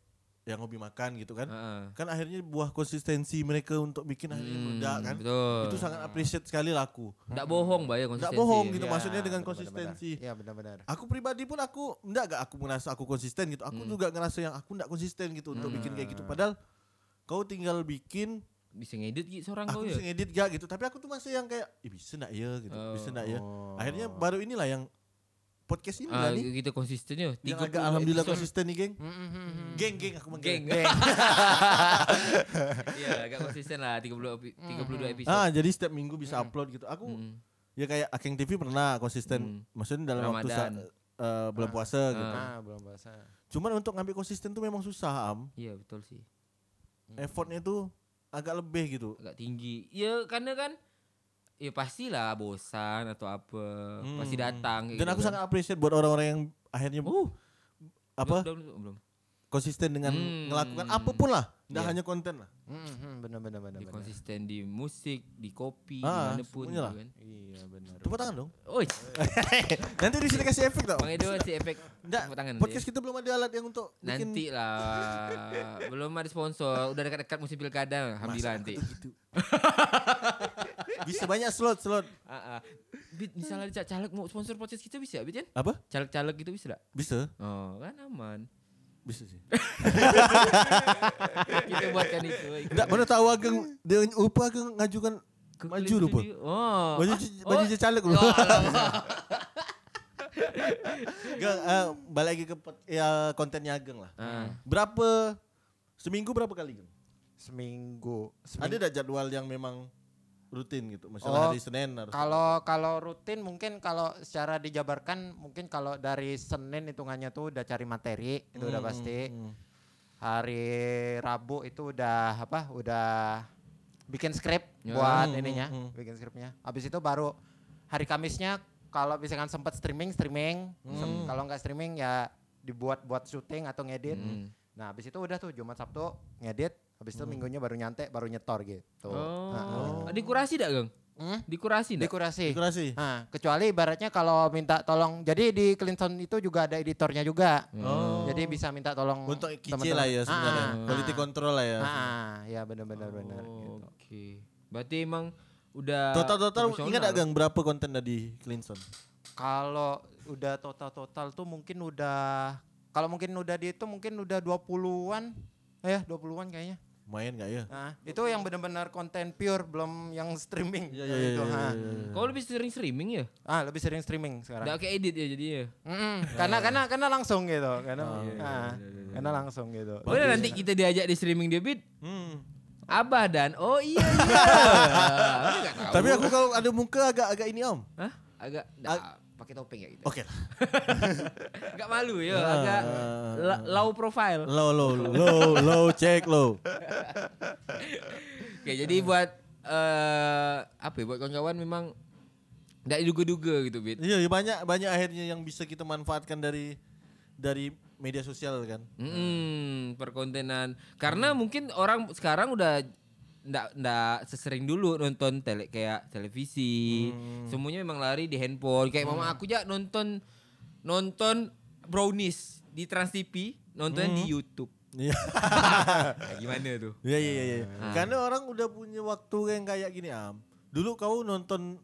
Speaker 3: yang hobi makan gitu kan
Speaker 2: Heeh.
Speaker 3: kan akhirnya buah konsistensi mereka untuk bikin akhirnya
Speaker 2: Ah. Hmm,
Speaker 3: meledak kan
Speaker 2: Betul.
Speaker 3: itu sangat appreciate sekali lah aku
Speaker 2: Nggak bohong bah ya konsistensi.
Speaker 3: nggak bohong gitu
Speaker 4: Iya,
Speaker 3: maksudnya dengan
Speaker 4: benar-benar.
Speaker 3: konsistensi
Speaker 4: Iya, benar-benar.
Speaker 3: aku pribadi pun aku enggak gak aku merasa aku konsisten gitu
Speaker 2: Hmm.
Speaker 3: aku juga ngerasa yang aku enggak konsisten gitu untuk bikin kayak gitu padahal kau tinggal bikin
Speaker 2: Bisa ngedit gitu seorang kau
Speaker 3: aku
Speaker 2: ya.
Speaker 3: bisa ngedit gak gitu tapi aku tuh masih yang kayak "Ih, bisa enggak ya gitu
Speaker 2: Oh.
Speaker 3: bisa enggak ya
Speaker 4: Oh.
Speaker 3: akhirnya baru inilah yang podcast ini lah
Speaker 2: Ah,
Speaker 3: nih
Speaker 2: kita konsisten ya.
Speaker 3: yang
Speaker 2: 30
Speaker 3: agak
Speaker 2: (laughs)
Speaker 3: alhamdulillah
Speaker 2: episode.
Speaker 3: konsisten nih geng
Speaker 4: Mm, mm, mm,
Speaker 2: Hmm.
Speaker 4: mm.
Speaker 3: geng geng aku manggil
Speaker 2: Geng.
Speaker 3: (laughs)
Speaker 2: Iya, agak konsisten lah 30 epi- 32 episode.
Speaker 3: ah jadi setiap minggu bisa upload gitu aku
Speaker 2: Mm.
Speaker 3: ya kayak Akeng TV pernah konsisten maksudnya dalam waktu saat
Speaker 2: Hmm. Ramadan.
Speaker 3: eh, bulan puasa gitu
Speaker 4: Ah, belum bahasa.
Speaker 3: cuman untuk ngambil konsisten tuh memang susah am
Speaker 2: Iya, Ya, betul sih. Hmm.
Speaker 3: effortnya itu agak lebih gitu
Speaker 2: Agak tinggi. Ya karena kan Ya pastilah bosan atau apa pasti datang. kayak
Speaker 3: Hmm. Dan
Speaker 2: gitu
Speaker 3: aku
Speaker 2: kan.
Speaker 3: sangat appreciate buat orang-orang yang akhirnya
Speaker 2: Uh,
Speaker 3: apa
Speaker 2: belum- belum- belum.
Speaker 3: konsisten dengan
Speaker 2: Hmm.
Speaker 3: melakukan apapun lah, nggak
Speaker 2: Iya.
Speaker 3: hanya konten lah.
Speaker 4: Mm, mm, Benar, benar, benar,
Speaker 2: Dia
Speaker 4: benar.
Speaker 2: konsisten di musik, di kopi,
Speaker 3: Ah,
Speaker 2: dimanapun
Speaker 3: semuanya
Speaker 2: gitu
Speaker 3: lah.
Speaker 2: kan.
Speaker 4: Iya, benar.
Speaker 3: Tepuk tangan dong.
Speaker 2: Oi,
Speaker 3: (laughs) Nanti di sini kasih efek tau.
Speaker 2: Bang Edo si efek
Speaker 3: Nggak,
Speaker 2: tepuk tangan
Speaker 3: podcast
Speaker 2: nanti.
Speaker 3: kita belum ada alat yang untuk bikin.
Speaker 2: Nanti lah, belum ada sponsor, udah dekat-dekat musim pilkada, alhamdulillah nanti.
Speaker 3: Bisa banyak slot slot.
Speaker 2: Ah, ah. Bit, misalnya ada caleg mau sponsor podcast kita bisa, Bit ya?
Speaker 3: Apa?
Speaker 2: Caleg-caleg gitu bisa gak?
Speaker 3: Bisa.
Speaker 2: Oh, kan aman.
Speaker 3: Bisa
Speaker 2: (laughs)
Speaker 3: sih.
Speaker 2: Kita buatkan itu.
Speaker 3: Enggak, mana tahu ageng dia upa ageng ngajukan maju
Speaker 2: Kulit
Speaker 3: rupa.
Speaker 2: studio. Oh. (laughs)
Speaker 3: Maju maju caleg lu.
Speaker 2: Oh, alah.
Speaker 3: Gang, eh, balik lagi ke pot- ya, kontennya ageng lah.
Speaker 2: Ah.
Speaker 3: Berapa seminggu berapa kali? Gang?
Speaker 4: Seminggu.
Speaker 3: Ada
Speaker 4: Seminggu.
Speaker 3: dah jadwal yang memang rutin gitu. Misalnya
Speaker 4: Oh,
Speaker 3: hari Senin harus.
Speaker 4: Kalau kalau rutin mungkin kalau secara dijabarkan mungkin kalau dari Senin hitungannya tuh udah cari materi itu udah
Speaker 3: Hmm,
Speaker 4: pasti. Hari Rabu itu udah apa? Udah bikin skrip
Speaker 2: Ya.
Speaker 4: buat
Speaker 3: Hmm,
Speaker 4: ininya,
Speaker 3: hmm,
Speaker 4: bikin skripnya. Habis itu baru hari Kamisnya kalau misalkan sempat streaming streaming,
Speaker 3: Hmm.
Speaker 4: Sem- kalau nggak streaming ya dibuat buat syuting atau ngedit.
Speaker 2: Hmm.
Speaker 4: Nah, habis itu udah tuh Jumat Sabtu ngedit, habis
Speaker 3: Hmm.
Speaker 4: itu minggunya baru nyantai, baru nyetor gitu. Heeh.
Speaker 2: Oh. Dikurasi dak, Gang?
Speaker 4: Hmm?
Speaker 2: Dikurasi dak?
Speaker 4: Dekorasi.
Speaker 3: Dekorasi.
Speaker 4: Nah, kecuali ibaratnya kalau minta tolong. Jadi di Clinton itu juga ada editornya juga.
Speaker 3: Oh.
Speaker 4: Jadi bisa minta tolong
Speaker 3: Untuk kicil
Speaker 4: Hmm, teman-teman.
Speaker 3: lah ya sebenarnya.
Speaker 4: Ah,
Speaker 3: Quality
Speaker 4: ah,
Speaker 3: control lah ya.
Speaker 4: Ah, ya benar-benar benar
Speaker 2: Oh,
Speaker 4: gitu.
Speaker 2: Oke. Berarti emang udah
Speaker 3: Total-total
Speaker 2: profesional.
Speaker 3: ingat ageng berapa konten dari Clinton?
Speaker 4: Kalau udah total-total tuh mungkin udah kalau mungkin udah di itu mungkin udah 20-an. Eh, 20-an kayaknya.
Speaker 3: Main gak ya?
Speaker 4: Nah, itu yang benar-benar konten pure belum yang streaming.
Speaker 3: Iya, iya,
Speaker 4: Itu,
Speaker 3: iya,
Speaker 4: ah.
Speaker 2: Kau lebih sering streaming ya?
Speaker 4: Ah, lebih sering streaming sekarang.
Speaker 2: Enggak kayak edit ya jadi ya.
Speaker 4: Mm-mm, karena karena karena langsung gitu, karena ah, karena langsung gitu.
Speaker 2: Boleh nanti kita diajak di streaming debit.
Speaker 3: Hmm.
Speaker 2: Abah dan oh iya (laughs) iya. Aku nggak tahu.
Speaker 3: Tapi aku kalau ada muka agak-agak ini om.
Speaker 2: Hah? Agak nah, pakai topeng ya gitu.
Speaker 3: Oke Ah. lah.
Speaker 2: Enggak malu ya, agak la- low profile.
Speaker 3: Low, low, low, low, check low.
Speaker 2: Oke, jadi buat eh apa ya buat kawan-kawan memang enggak diduga-duga gitu, Bit.
Speaker 3: Iya, iya, banyak banyak akhirnya yang bisa kita manfaatkan dari dari media sosial kan.
Speaker 2: Mm, perkontenan. Karena mungkin orang sekarang udah ndak ndak sesering dulu nonton tele kayak televisi.
Speaker 3: Hmm.
Speaker 2: Semuanya memang lari di handphone. Kayak mama aku aja nonton nonton Brownies di Trans TV, nonton di YouTube.
Speaker 3: Iya.
Speaker 2: (laughs) Nah, gimana tuh?
Speaker 3: Iya, iya, iya, iya.
Speaker 2: Ah.
Speaker 3: Karena orang udah punya waktu yang kayak gini am. Dulu kau nonton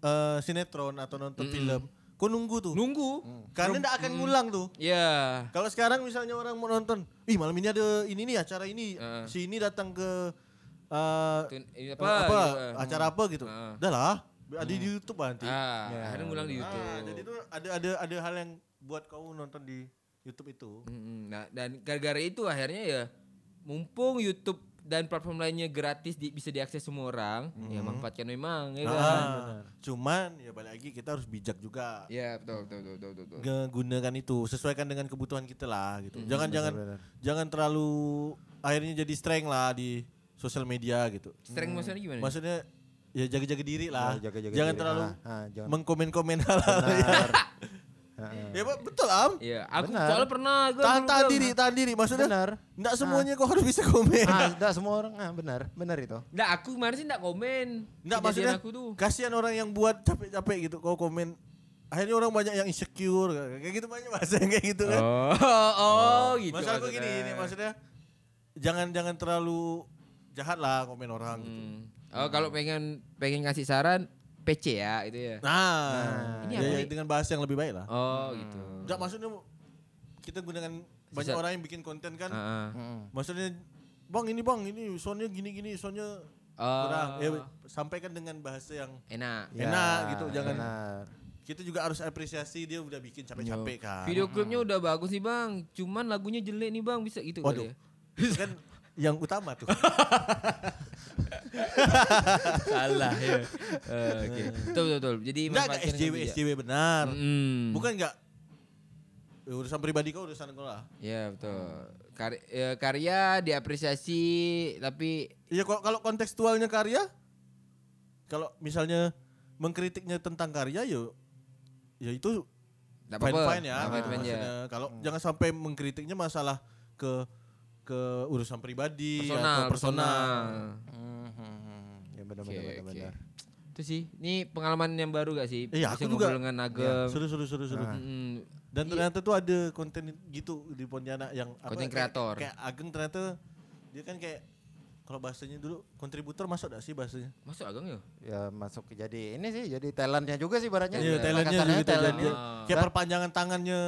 Speaker 3: eh, sinetron atau nonton film, kau nunggu tuh.
Speaker 2: Nunggu.
Speaker 3: Karena tidak akan ngulang tuh.
Speaker 2: Ya.
Speaker 3: Kalau sekarang misalnya orang mau nonton, ih malam ini ada ini nih acara ini,
Speaker 2: Heeh.
Speaker 3: si ini datang ke eh,
Speaker 2: Ah. Tun-
Speaker 3: eh,
Speaker 2: ini
Speaker 3: apa,
Speaker 2: apa, gitu, eh.
Speaker 3: acara apa gitu.
Speaker 2: Heeh.
Speaker 3: Udah lah, ada di YouTube lah nanti.
Speaker 2: Ah, akhirnya ngulang di YouTube.
Speaker 3: Ah, jadi itu ada ada ada hal yang buat kau nonton di YouTube itu.
Speaker 2: Mm-mm. Nah, dan gara-gara itu akhirnya ya mumpung YouTube dan platform lainnya gratis di- bisa diakses semua orang, ya manfaatkan memang ya kan.
Speaker 3: Mm-hmm. Ah, cuman ya balik lagi kita harus bijak juga.
Speaker 2: Ya, betul betul betul betul. betul.
Speaker 3: Gunakan itu, sesuaikan dengan kebutuhan kita lah gitu.
Speaker 4: Hmm,
Speaker 3: Jangan jangan jangan terlalu akhirnya jadi strength lah di sosial media gitu.
Speaker 2: Strength maksudnya gimana?
Speaker 3: Maksudnya ya jaga-jaga diri lah.
Speaker 4: Ya, jaga-jaga
Speaker 3: jangan
Speaker 4: diri.
Speaker 3: terlalu
Speaker 4: Ah, ah, jangan.
Speaker 3: mengkomen-komen hal hal (laughs)
Speaker 4: Benar. Ah,
Speaker 3: Ya Pak, betul am.
Speaker 2: Iya, aku
Speaker 4: Benar.
Speaker 2: soalnya pernah gua
Speaker 3: Tahan
Speaker 2: dulu
Speaker 3: tahan
Speaker 2: bilang,
Speaker 3: diri, tahan diri. Maksudnya
Speaker 4: Benar.
Speaker 3: enggak semuanya kau harus bisa komen. (laughs)
Speaker 4: ah, enggak semua orang ah, benar, benar itu.
Speaker 2: Nggak, aku kemarin sih nggak komen.
Speaker 3: Enggak
Speaker 2: kejadian
Speaker 3: maksudnya
Speaker 2: aku
Speaker 3: (laughs)
Speaker 2: tuh.
Speaker 3: kasihan orang yang buat capek-capek gitu kau komen. Akhirnya orang banyak yang insecure kayak gitu banyak bahasa yang (laughs) kayak gitu kan.
Speaker 2: Oh, oh, gitu.
Speaker 3: Masalah aku gini ini maksudnya jangan jangan terlalu jahat lah komen orang gitu.
Speaker 2: Hmm. Oh, kalau pengen pengen ngasih saran PC ya itu ya.
Speaker 3: Nah,
Speaker 2: Ini
Speaker 3: ya,
Speaker 2: apa
Speaker 3: ya,
Speaker 2: nih?
Speaker 3: dengan bahasa yang lebih baik lah.
Speaker 2: Oh, gitu.
Speaker 3: Enggak maksudnya kita gunakan banyak
Speaker 2: Sisa-
Speaker 3: orang yang bikin konten kan.
Speaker 2: Heeh.
Speaker 3: Maksudnya Bang ini bang ini soundnya gini gini soundnya
Speaker 2: Oh.
Speaker 3: kurang. Ya, sampaikan dengan bahasa yang
Speaker 2: Enak.
Speaker 3: Enak gitu, jangan-
Speaker 4: Ya, benar.
Speaker 3: kita juga harus apresiasi dia udah bikin capek-capek kan.
Speaker 2: Video klipnya udah bagus nih bang, cuman lagunya jelek nih bang, bisa gitu kali
Speaker 3: Waduh.
Speaker 2: ya?
Speaker 3: Itu kan yang utama
Speaker 2: (laughs)
Speaker 3: tuh.
Speaker 2: Salah ya. Eh,
Speaker 3: (laughs)
Speaker 2: Oke. Betul betul betul. Jadi
Speaker 3: Enggak enggak
Speaker 2: manfaatkan
Speaker 3: SJW
Speaker 2: dengan bijak.
Speaker 3: SJW benar.
Speaker 2: Mm.
Speaker 3: Bukan enggak ya, urusan pribadi kau urusan kau lah.
Speaker 2: Ya betul. Kar- ya, karya diapresiasi tapi
Speaker 3: Iya kalau kalau kontekstualnya karya kalau misalnya mengkritiknya tentang karya yo ya itu
Speaker 2: tidak
Speaker 3: fine
Speaker 2: apa-apa. iya. Hmm.
Speaker 3: fine ya.
Speaker 2: Fine-fine aja.
Speaker 3: Maksudnya, Kalau jangan sampai mengkritiknya masalah ke ke urusan pribadi
Speaker 2: Personal,
Speaker 3: atau personal.
Speaker 2: personal.
Speaker 4: Hmm, hmm, hmm. Ya benar
Speaker 2: Oke,
Speaker 4: benar
Speaker 2: oke.
Speaker 4: benar. benar.
Speaker 2: Itu sih. Ini pengalaman yang baru gak sih?
Speaker 3: Iya,
Speaker 2: Bisa
Speaker 3: aku juga.
Speaker 2: ngobrol dengan
Speaker 3: Ya,
Speaker 2: Ageng.
Speaker 3: seru seru seru seru.
Speaker 2: Mm,
Speaker 3: Dan ternyata tuh ada konten gitu di Pontianak yang
Speaker 2: Konten
Speaker 3: kayak-
Speaker 2: kreator.
Speaker 3: Kayak, Ageng ternyata dia kan kayak kalau bahasanya dulu kontributor masuk gak sih bahasanya?
Speaker 2: Masuk Ageng ya?
Speaker 4: Ya masuk ke jadi ini sih jadi talentnya juga sih ibaratnya.
Speaker 3: Iya,
Speaker 4: Iya,
Speaker 3: Thailandnya
Speaker 4: katanya
Speaker 3: juga gitu
Speaker 4: Thailand.
Speaker 3: jadi kayak perpanjangan tangannya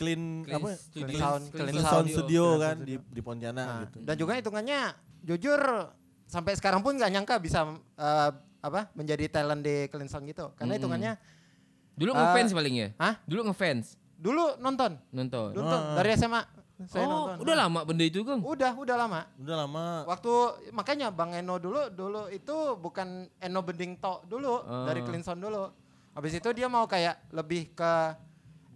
Speaker 3: clean,
Speaker 2: Clean
Speaker 3: apa?
Speaker 2: Studio.
Speaker 3: Clean,
Speaker 4: Sound,
Speaker 3: clean
Speaker 4: Clean
Speaker 3: sound
Speaker 2: Studio.
Speaker 3: studio
Speaker 2: Clean
Speaker 3: kan
Speaker 2: Sound
Speaker 3: di di Pontianak
Speaker 4: Nah,
Speaker 3: gitu.
Speaker 4: Dan juga hitungannya jujur sampai sekarang pun nggak nyangka bisa eh, apa menjadi talent di Clean Sound gitu. Karena hitungannya
Speaker 2: Dulu
Speaker 4: Eh,
Speaker 2: ngefans paling ya?
Speaker 4: hah?
Speaker 2: Dulu ngefans
Speaker 4: dulu nonton,
Speaker 2: nonton.
Speaker 4: nonton dari SMA. Saya
Speaker 2: oh,
Speaker 4: nonton. Ah.
Speaker 2: udah lama benda itu, Kang.
Speaker 4: Udah, udah lama.
Speaker 3: Udah lama.
Speaker 4: Waktu makanya Bang Eno dulu dulu itu bukan Eno Beding Tok dulu
Speaker 2: Ah.
Speaker 4: dari Clean Sound dulu. Habis itu dia mau kayak lebih ke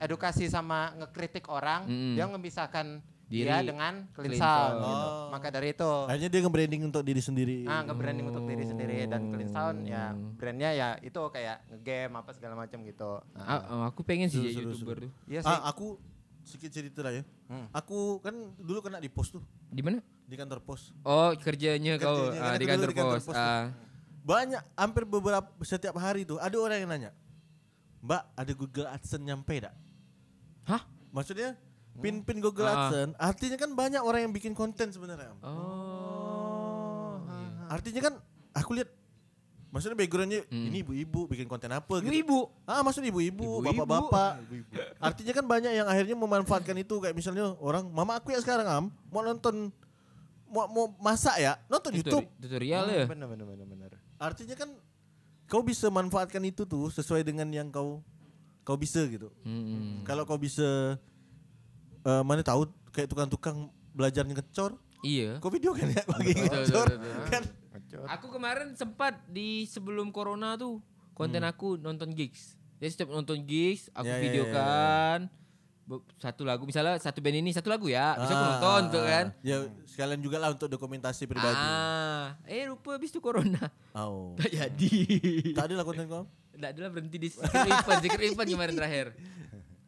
Speaker 4: edukasi sama ngekritik orang,
Speaker 2: Mm-mm.
Speaker 4: dia memisahkan
Speaker 2: Diri.
Speaker 4: dia dengan Clean,
Speaker 2: Clean
Speaker 4: Sound.
Speaker 2: Sound.
Speaker 4: gitu.
Speaker 3: Oh.
Speaker 4: Maka dari itu
Speaker 3: Akhirnya dia nge-branding untuk diri sendiri.
Speaker 4: ah nge-branding untuk diri sendiri
Speaker 2: Hmm.
Speaker 4: dan Clean Sound ya brandnya ya itu kayak ngegame apa segala macam gitu. Nah,
Speaker 2: Ah, ah, aku pengen sih
Speaker 3: Seru,
Speaker 2: jadi
Speaker 3: seru,
Speaker 2: YouTuber tuh.
Speaker 4: Iya sih.
Speaker 3: Ah, aku sedikit cerita lah ya. Aku kan dulu kena di pos tuh,
Speaker 2: Di mana?
Speaker 3: di kantor pos.
Speaker 2: Oh, kerjanya kau
Speaker 3: Kerjanya,
Speaker 2: ah,
Speaker 3: kan
Speaker 2: di
Speaker 3: aku dulu
Speaker 2: kantor
Speaker 3: di kantor
Speaker 2: pos.
Speaker 3: pos tuh.
Speaker 2: Ah,
Speaker 3: Banyak, hampir beberapa setiap hari tuh ada orang yang nanya, Mbak ada Google AdSense nyampe dak?
Speaker 2: Hah?
Speaker 3: Maksudnya pin-pin Google
Speaker 2: Ah, ah.
Speaker 3: AdSense, artinya kan banyak orang yang bikin konten sebenarnya. Om.
Speaker 2: Oh.
Speaker 3: Artinya kan aku lihat, maksudnya backgroundnya
Speaker 2: Hmm.
Speaker 3: ini ibu-ibu bikin konten apa gitu.
Speaker 2: Ibu.
Speaker 3: Ah maksudnya ibu-ibu,
Speaker 2: Ibu-ibu.
Speaker 3: bapak-bapak. Artinya kan banyak yang akhirnya memanfaatkan itu kayak misalnya orang mama aku ya sekarang am mau nonton mau, mau masak ya nonton YouTube. Hmm,
Speaker 2: Tutori- Tutorial ya.
Speaker 4: bener bener bener bener.
Speaker 3: Artinya kan kau bisa manfaatkan itu tuh sesuai dengan yang kau kau bisa gitu.
Speaker 2: Mm-mm.
Speaker 3: Kalau kau bisa eh, mana tahu kayak tukang-tukang belajar ngecor,
Speaker 2: Iya.
Speaker 3: kau video kan ya bagi
Speaker 2: Betul, betul,
Speaker 3: ngecor
Speaker 2: betul, betul.
Speaker 3: kan.
Speaker 2: Aku kemarin sempat di sebelum corona tuh konten aku nonton gigs. Jadi setiap nonton gigs aku
Speaker 3: Hmm. Ya, ya, ya,
Speaker 2: videokan Be- satu lagu misalnya satu band ini satu lagu ya, bisa aku
Speaker 3: Ah,
Speaker 2: nonton tuh kan.
Speaker 3: Ya sekalian juga lah untuk dokumentasi pribadi.
Speaker 2: Ah, eh rupa habis tuh corona. (laughs)
Speaker 3: Oh.
Speaker 2: Gak jadi.
Speaker 3: Tak ada lah konten kau.
Speaker 2: Enggak adalah berhenti di Secret Weapon, Secret Weapon kemarin terakhir.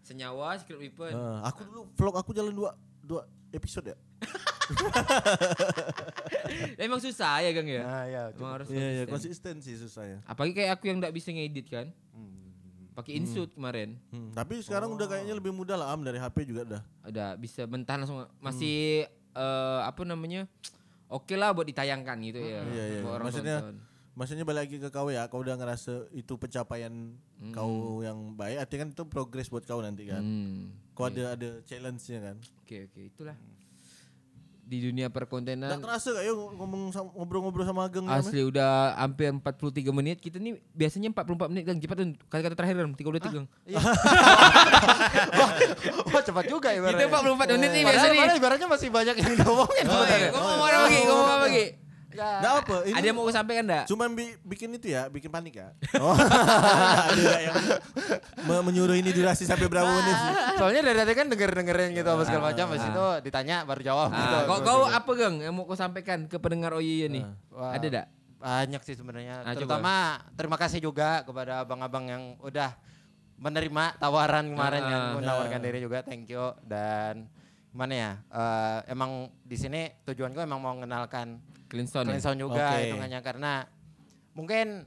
Speaker 2: Senyawa Secret Weapon.
Speaker 3: Eh, aku dulu vlog aku jalan dua dua episode ya.
Speaker 2: Emang susah ya, Gang ya?
Speaker 4: Nah, ya.
Speaker 2: Emang harus
Speaker 3: Iya iya
Speaker 2: konsisten.
Speaker 3: konsisten Hmm. sih ya. susahnya.
Speaker 2: Apalagi kayak aku yang enggak bisa ngedit kan. Pakai InShot kemarin.
Speaker 3: Hmm, tapi sekarang udah kayaknya lebih mudah lah am dari HP juga dah.
Speaker 2: udah bisa mentah langsung
Speaker 3: Hmm.
Speaker 2: masih eh, apa namanya oke lah buat ditayangkan gitu ya
Speaker 3: Iya iya.
Speaker 2: buat orang
Speaker 3: Maksudnya
Speaker 2: tonton.
Speaker 3: maksudnya balik lagi ke kau ya, kau udah ngerasa itu pencapaian kau yang baik, artinya kan itu progres buat kau nanti kan.
Speaker 2: hmm.
Speaker 3: Kau ada ada challenge-nya kan.
Speaker 2: oke oke itulah di dunia
Speaker 3: Nggak
Speaker 2: perkontenan
Speaker 3: terasa kayak ngomong sama- ngobrol-ngobrol sama Ageng ya, Mas?
Speaker 2: asli udah hampir 43 menit kita nih biasanya 44 menit kan cepat tuh kata-kata terakhir kan 32 tegang
Speaker 4: (laughs) Wah, cepat juga
Speaker 2: kita
Speaker 4: ibaratnya.
Speaker 2: 44 menit nih
Speaker 4: Padahal,
Speaker 2: biasanya
Speaker 4: padahal ibaratnya masih banyak yang diomongin
Speaker 2: oh, iya.
Speaker 4: sebenarnya.
Speaker 2: Gua mau marah lagi gua mau marah lagi
Speaker 4: Ya.
Speaker 3: Nggak apa, ini
Speaker 2: ada yang mau gua sampaikan enggak
Speaker 3: cuman bi- bikin itu ya, bikin panik
Speaker 2: (laughs)
Speaker 3: ya. Oh. ada nggak yang me- menyuruh ini durasi sampai berapa menit sih?
Speaker 4: Soalnya dari tadi kan denger-dengerin gitu apa segala macam, habis itu ditanya baru jawab gitu.
Speaker 2: Ah, kau, kau apa gang yang mau kau sampaikan ke pendengar OYY nih?
Speaker 4: Ah, Wah.
Speaker 2: Ada enggak?
Speaker 4: Banyak sih sebenarnya.
Speaker 2: Ah, coba.
Speaker 4: Terutama terima kasih juga kepada abang-abang yang udah menerima tawaran kemarin
Speaker 2: Ah,
Speaker 4: yang
Speaker 2: ah.
Speaker 4: menawarkan diri juga. Thank you dan gimana ya? eh, emang di sini tujuan gue emang mau mengenalkan
Speaker 2: Clean sound. ya?
Speaker 4: Clean sound juga
Speaker 3: Oke.
Speaker 4: hitungannya karena mungkin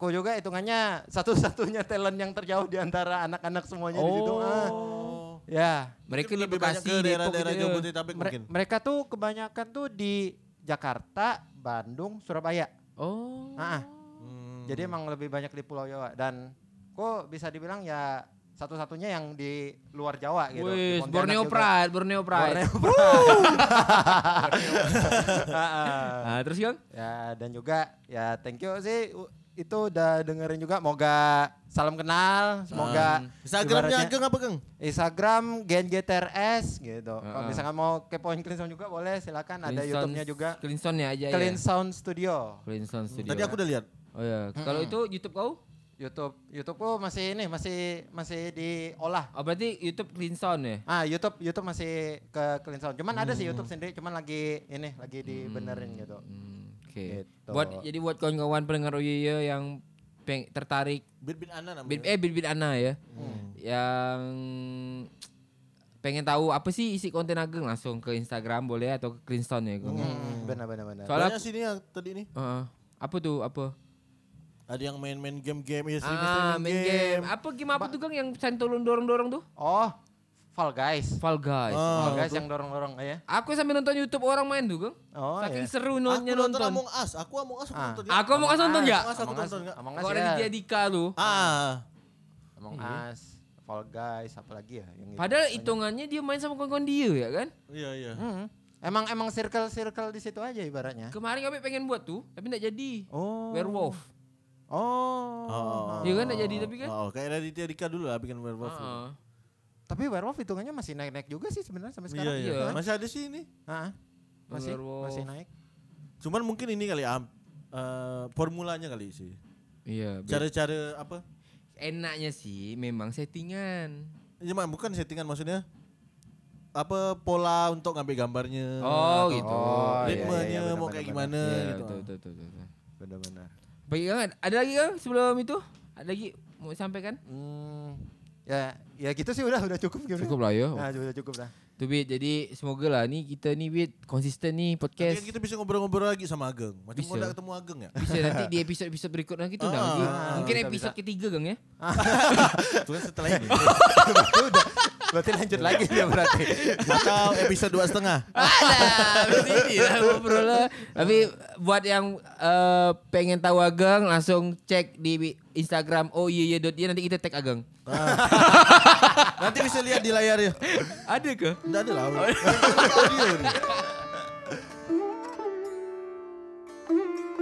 Speaker 4: ku juga hitungannya satu-satunya talent yang terjauh di antara anak-anak semuanya di situ. Ah,
Speaker 3: Oh.
Speaker 4: Ya,
Speaker 2: Mereka
Speaker 3: Mungkin
Speaker 2: di
Speaker 3: lebih banyak
Speaker 2: Bekasi,
Speaker 3: ke
Speaker 2: Depok
Speaker 3: daerah-daerah
Speaker 2: gitu ya.
Speaker 3: Jabodetabek
Speaker 4: mere-
Speaker 3: mungkin.
Speaker 4: mereka tuh kebanyakan tuh di Jakarta, Bandung, Surabaya.
Speaker 2: Oh.
Speaker 4: Ah, ah.
Speaker 3: Hmm.
Speaker 4: Jadi emang lebih banyak di Pulau Jawa dan kok bisa dibilang ya satu-satunya yang di luar Jawa gitu.
Speaker 2: Wih,
Speaker 4: di Pontianak
Speaker 2: Borneo
Speaker 4: juga.
Speaker 2: Pride, Borneo Pride.
Speaker 4: Borneo
Speaker 2: (laughs)
Speaker 4: Pride. (laughs) Ah, ah.
Speaker 2: Nah, terus Gang?
Speaker 4: Ya dan juga ya thank you sih u- itu udah dengerin juga. Moga salam kenal, semoga
Speaker 3: Nah, Ah. Instagramnya
Speaker 4: ibaratnya-
Speaker 3: Ageng apa, Geng?
Speaker 4: Instagram GenGTRS gitu. Kalau
Speaker 2: Heeh.
Speaker 4: misalkan mau kepoin Clean Sound juga boleh silakan ada YouTube-nya juga.
Speaker 2: Clinton ya aja
Speaker 4: Clean
Speaker 2: ya.
Speaker 4: Sound Hmm. Studio.
Speaker 2: Clean Sound Studio.
Speaker 3: Tadi aku udah lihat.
Speaker 2: Oh ya,
Speaker 4: Hmm.
Speaker 2: kalau itu YouTube kau?
Speaker 4: YouTube YouTube ku masih ini masih masih diolah.
Speaker 2: Oh, berarti YouTube Clean Sound ya?
Speaker 4: Ah, YouTube YouTube masih ke Clean Sound. Cuman ada sih YouTube sendiri, cuman lagi ini lagi dibenerin gitu.
Speaker 2: Hmm, Oke.
Speaker 4: Gitu.
Speaker 2: Buat jadi buat kawan-kawan pendengar OYY yang peng, tertarik
Speaker 3: Bit-bit Ana namanya.
Speaker 2: Bin, eh Bin Bin Ana ya. Yang pengen tahu apa sih isi konten Ageng langsung ke Instagram boleh atau ke Clean Sound ya, Gang.
Speaker 4: Hmm, benar benar benar.
Speaker 2: Soalnya
Speaker 3: Banyak sini yang tadi nih.
Speaker 2: Heeh. apa tuh? Apa?
Speaker 3: Ada yang main-main game-game ya streaming,
Speaker 2: Ah,
Speaker 3: streaming
Speaker 2: main game. Apa game apa tuh, Gang yang santolun dorong-dorong tuh?
Speaker 4: Oh, Fall Guys.
Speaker 2: Fall Guys.
Speaker 4: Fall
Speaker 3: Ah,
Speaker 4: Guys yang dorong-dorong ya.
Speaker 2: Aku sambil nonton YouTube orang main tuh, Gang.
Speaker 4: Oh,
Speaker 2: Saking
Speaker 4: iya.
Speaker 2: seru
Speaker 3: aku
Speaker 2: nontonnya
Speaker 3: nonton,
Speaker 2: nonton.
Speaker 3: Among Us, aku Among Us aku
Speaker 4: Ah.
Speaker 3: nonton. ya.
Speaker 2: Aku mau kasih nonton ya?
Speaker 4: iya.
Speaker 3: Among Us aku
Speaker 4: Among Us,
Speaker 3: tonton nggak?
Speaker 4: Among Us
Speaker 2: Kau
Speaker 4: ya.
Speaker 2: ada Dika tuh.
Speaker 3: Ah,
Speaker 4: Among Us. Fall Guys, apalagi ya yang itu.
Speaker 2: Padahal hitungannya dia main sama kawan-kawan dia ya kan?
Speaker 3: Iya iya.
Speaker 4: Mm. Emang emang circle-circle di situ aja ibaratnya.
Speaker 2: Kemarin kami pengen buat tuh, tapi nggak jadi.
Speaker 4: Eh? Oh.
Speaker 2: Werewolf.
Speaker 4: Oh.
Speaker 2: Iya kan nggak jadi tapi kan? Ah,
Speaker 3: Oh, kayak Raditya Dika dulu lah bikin werewolf. dulu.
Speaker 2: Heeh.
Speaker 4: Tapi werewolf hitungannya masih naik-naik juga sih sebenarnya sampai
Speaker 3: Iya
Speaker 4: sekarang.
Speaker 3: iya.
Speaker 2: iya.
Speaker 3: Masih ada sih ini.
Speaker 4: Ah, masih
Speaker 2: Werewolf.
Speaker 4: masih naik.
Speaker 3: Cuman mungkin ini kali ya, am- eh, formulanya kali sih.
Speaker 2: Iya. be-
Speaker 3: Cara-cara apa?
Speaker 2: Enaknya sih memang settingan.
Speaker 3: Ya, Mak, bukan settingan maksudnya. Apa pola untuk ngambil gambarnya?
Speaker 2: Oh,
Speaker 3: atau
Speaker 2: gitu.
Speaker 4: Oh, iya,
Speaker 3: Ritmenya
Speaker 4: iya, iya,
Speaker 3: mau
Speaker 4: benar,
Speaker 3: kayak
Speaker 4: benar,
Speaker 3: gimana
Speaker 2: Iya,
Speaker 3: Ya, gitu.
Speaker 2: Ya, betul, betul, betul, betul.
Speaker 4: Benar-benar.
Speaker 2: Baik Kang, ada lagi Kang sebelum itu? Ada lagi mau sampaikan?
Speaker 4: Hmm, ya ya gitu sih udah udah cukup gitu.
Speaker 2: Cukup lah yo.
Speaker 4: Nah, udah cukup lah.
Speaker 2: Tuh Bit, jadi semoga lah nih kita nih Bit konsisten nih
Speaker 3: Nanti
Speaker 2: podcast.
Speaker 3: kan kita bisa ngobrol-ngobrol lagi sama Ageng. Macam
Speaker 2: Bisa.
Speaker 3: kau udah ketemu Ageng ya?
Speaker 2: Bisa nanti di episode-episode berikutnya kita
Speaker 3: Ah,
Speaker 2: undang lagi.
Speaker 3: ah,
Speaker 2: Mungkin
Speaker 4: bisa,
Speaker 2: episode
Speaker 4: bisa.
Speaker 2: ketiga Kang ya.
Speaker 3: Itu kan setelah ini.
Speaker 4: Berarti udah. Berarti lanjut lagi ya berarti. (laughs)
Speaker 3: Atau episode dua setengah.
Speaker 2: Ada, habis ini (laughs) lah ngobrol lah. Tapi buat yang eh, pengen tahu Ageng langsung cek di Instagram oh iya iya dot iya, nanti kita tag Ageng.
Speaker 3: Nanti bisa lihat di layarnya.
Speaker 2: Ada ke?
Speaker 3: Enggak ada lah. Audio nih.
Speaker 5: Thank you.